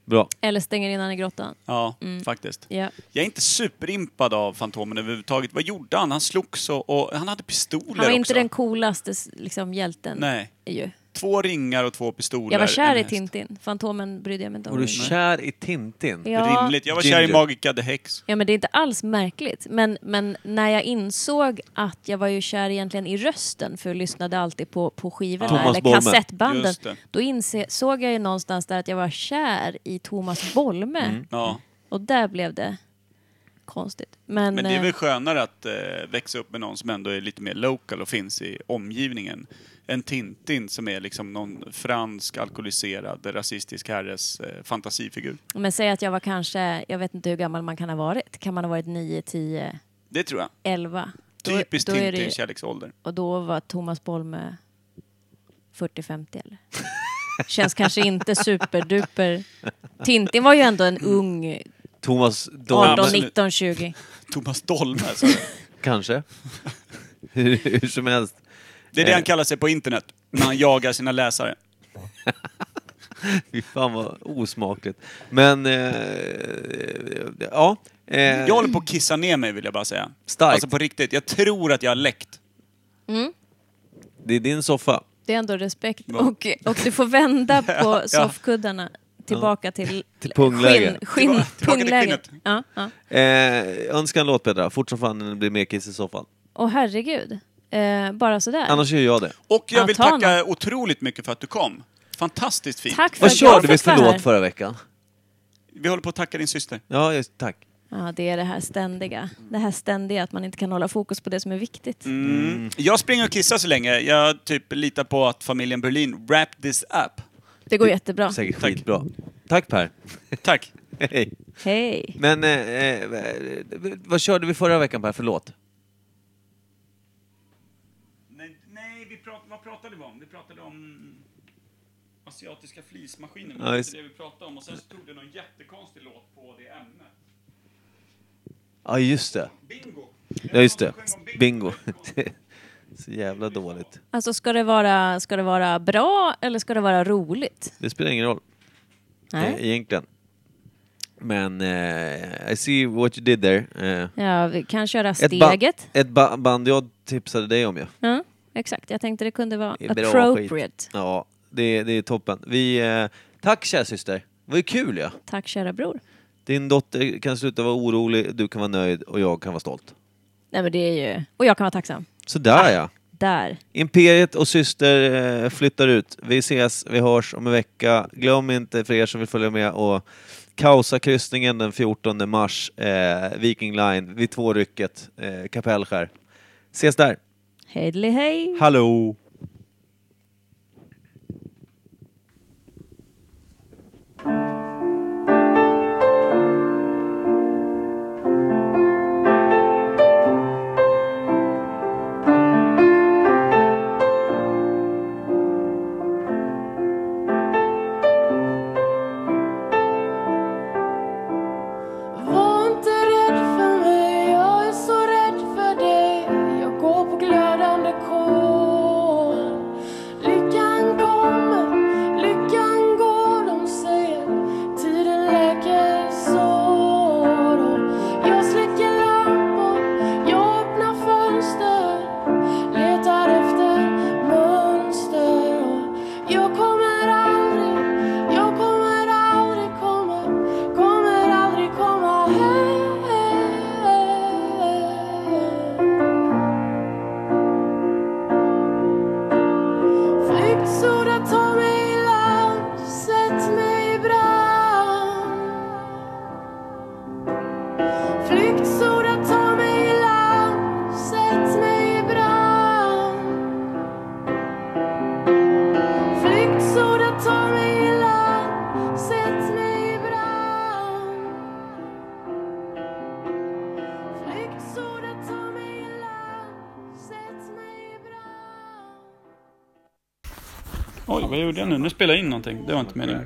Speaker 2: Bra.
Speaker 1: Eller stänger in han i grottan.
Speaker 3: Ja, faktiskt.
Speaker 1: Ja.
Speaker 3: Jag är inte superimpad av Fantomen överhuvudtaget. Vad gjorde han? Han slogs och, och han hade pistoler
Speaker 1: Han var inte
Speaker 3: också.
Speaker 1: den coolaste s- liksom, hjälten.
Speaker 3: Nej.
Speaker 1: Ju.
Speaker 3: Två ringar och två pistoler.
Speaker 1: Jag var kär
Speaker 3: en
Speaker 1: i
Speaker 3: häst.
Speaker 1: Tintin. Fantomen brydde jag mig inte
Speaker 2: Var
Speaker 1: om.
Speaker 2: du kär i Tintin?
Speaker 1: Mm. Ja.
Speaker 3: Rimligt. Jag var kär i
Speaker 2: Ginger.
Speaker 3: Magica the Hex.
Speaker 1: Ja, men det är inte alls märkligt. Men, men när jag insåg att jag var ju kär egentligen i rösten för jag lyssnade alltid på, på skivorna
Speaker 2: Thomas
Speaker 1: eller
Speaker 2: Bolme.
Speaker 1: kassettbanden.
Speaker 3: Just det.
Speaker 1: Då insåg jag ju någonstans där att jag var kär i Thomas Bolme.
Speaker 3: Ja.
Speaker 1: Och där blev det konstigt. Men,
Speaker 3: Men det är
Speaker 1: eh,
Speaker 3: väl skönare att eh, växa upp med någon som ändå är lite mer local och finns i omgivningen. Än Tintin som är liksom någon fransk alkoholiserad rasistisk herres eh, fantasifigur.
Speaker 1: men säg att jag var kanske, jag vet inte hur gammal man kan ha varit. Kan man ha varit 9, 10,
Speaker 3: Det tror jag.
Speaker 1: 11? Då-
Speaker 3: Typiskt
Speaker 1: då är det ju-
Speaker 3: Tintins kärleksålder.
Speaker 1: Och då var Thomas Bolme 40-50 eller? Känns kanske inte superduper. Tintin var ju ändå en ung
Speaker 2: Mm. Thomas Dolm,
Speaker 1: 18,
Speaker 3: men-
Speaker 1: 19, 20.
Speaker 3: Thomas Dolme. alltså. sa jag.
Speaker 2: kanske? hur, hur som helst.
Speaker 3: Det är det han kallar sig på internet. När han jagar sina läsare.
Speaker 2: Fy fan vad osmakligt. Men, eh, ja. Eh,
Speaker 3: Jag håller på att kissa ner mig vill jag bara säga.
Speaker 2: Starkt.
Speaker 3: Alltså på riktigt. Jag tror att jag har läckt.
Speaker 2: Det är din soffa.
Speaker 1: Det är ändå respekt.
Speaker 3: Va?
Speaker 1: Och, och du får vända på
Speaker 3: ja.
Speaker 1: soffkuddarna tillbaka till,
Speaker 2: Till pungläge.
Speaker 1: skinn- skinn-
Speaker 3: Tillbaka- tillbaka till
Speaker 1: pungläge.
Speaker 3: skinnet.
Speaker 1: Ja, ja.
Speaker 2: Eh, önska en låt Petra, fort som fan när det blir mer kiss i soffan.
Speaker 1: Och herregud, eh, bara sådär.
Speaker 2: Annars gör jag det.
Speaker 3: Och jag
Speaker 1: Ja,
Speaker 3: vill
Speaker 1: ta
Speaker 3: tacka otroligt mycket för att du kom. Fantastiskt fint.
Speaker 1: Tack för
Speaker 2: Vad
Speaker 1: att jag
Speaker 2: körde vi
Speaker 1: fick
Speaker 2: för
Speaker 1: vara
Speaker 2: låt
Speaker 1: här.
Speaker 2: förra veckan?
Speaker 3: Vi håller på att tacka din syster.
Speaker 2: Ja, just, tack.
Speaker 1: Ja, det är det här ständiga. Det här ständiga att man inte kan hålla fokus på det som är viktigt.
Speaker 2: Mm.
Speaker 3: Jag springer och kissar så länge. Jag typ litar på att familjen Berlin wrap this up.
Speaker 1: Det går jättebra.
Speaker 2: Säkert
Speaker 3: Tack.
Speaker 2: skitbra. Tack Per.
Speaker 3: Tack.
Speaker 2: Hej.
Speaker 1: Hej.
Speaker 2: Men eh, eh, vad körde vi förra veckan Per, förlåt?
Speaker 3: Nej, vi prat, vad pratade vi om? Vi pratade om asiatiska flismaskiner.
Speaker 2: det var Ja, just- inte
Speaker 3: vi pratade om. Och sen så tog du någon jättekonstig låt på det ämnet.
Speaker 2: Ja, just det.
Speaker 3: Bingo!
Speaker 2: Ja, just det. Bingo. Så jävla dåligt.
Speaker 1: Alltså ska det, vara, ska det vara bra eller ska det vara roligt?
Speaker 2: Det spelar ingen roll.
Speaker 1: Nej.
Speaker 2: Eh, egentligen. Men eh, I see what you did there. Eh,
Speaker 1: Ja, vi kan köra
Speaker 2: ett, ba-
Speaker 1: steget.
Speaker 2: ett ba- band jag tipsade dig om ja.
Speaker 1: Ja, exakt, jag tänkte det kunde vara
Speaker 2: Det är bra
Speaker 1: appropriate.
Speaker 2: skit. Ja, det, det är toppen. Vi, eh, tack kära syster. Det var ju kul ja.
Speaker 1: Tack kära bror.
Speaker 2: Din dotter kan sluta vara orolig, du kan vara nöjd och jag kan vara stolt.
Speaker 1: Nej men det är ju, och jag kan vara tacksam. Ah.
Speaker 2: Sådär ja.
Speaker 1: Där.
Speaker 2: Imperiet och Syster eh, flyttar ut. Vi ses, vi hörs om en vecka. Glöm inte för er som vill följa med och kaosa kryssningen den 14 mars. Eh, Viking Line, vid tvårycket, eh, Kapellskär. Ses där.
Speaker 1: Hejdli hej.
Speaker 2: Hallå!
Speaker 8: NRK. Lyckan kommer, lyckan går, de säger. Tiden läker sår. Och Jag släcker lampor, jag öppnar fönster. Letar efter mönster. Och Jag kommer aldrig, jag kommer aldrig komma, kommer aldrig komma hem. Flyktsoda tar mig i land, sätt mig i brand. Flyktsoda tar mig i land, sätt mig i brand. Flyktsoda tar mig i land, sätt mig i brand. Flyktsoda tar mig i land, sätt mig i brand.
Speaker 3: Oj, vad gjorde jag nu? Nu spelar jag in någonting. Det var inte meningen.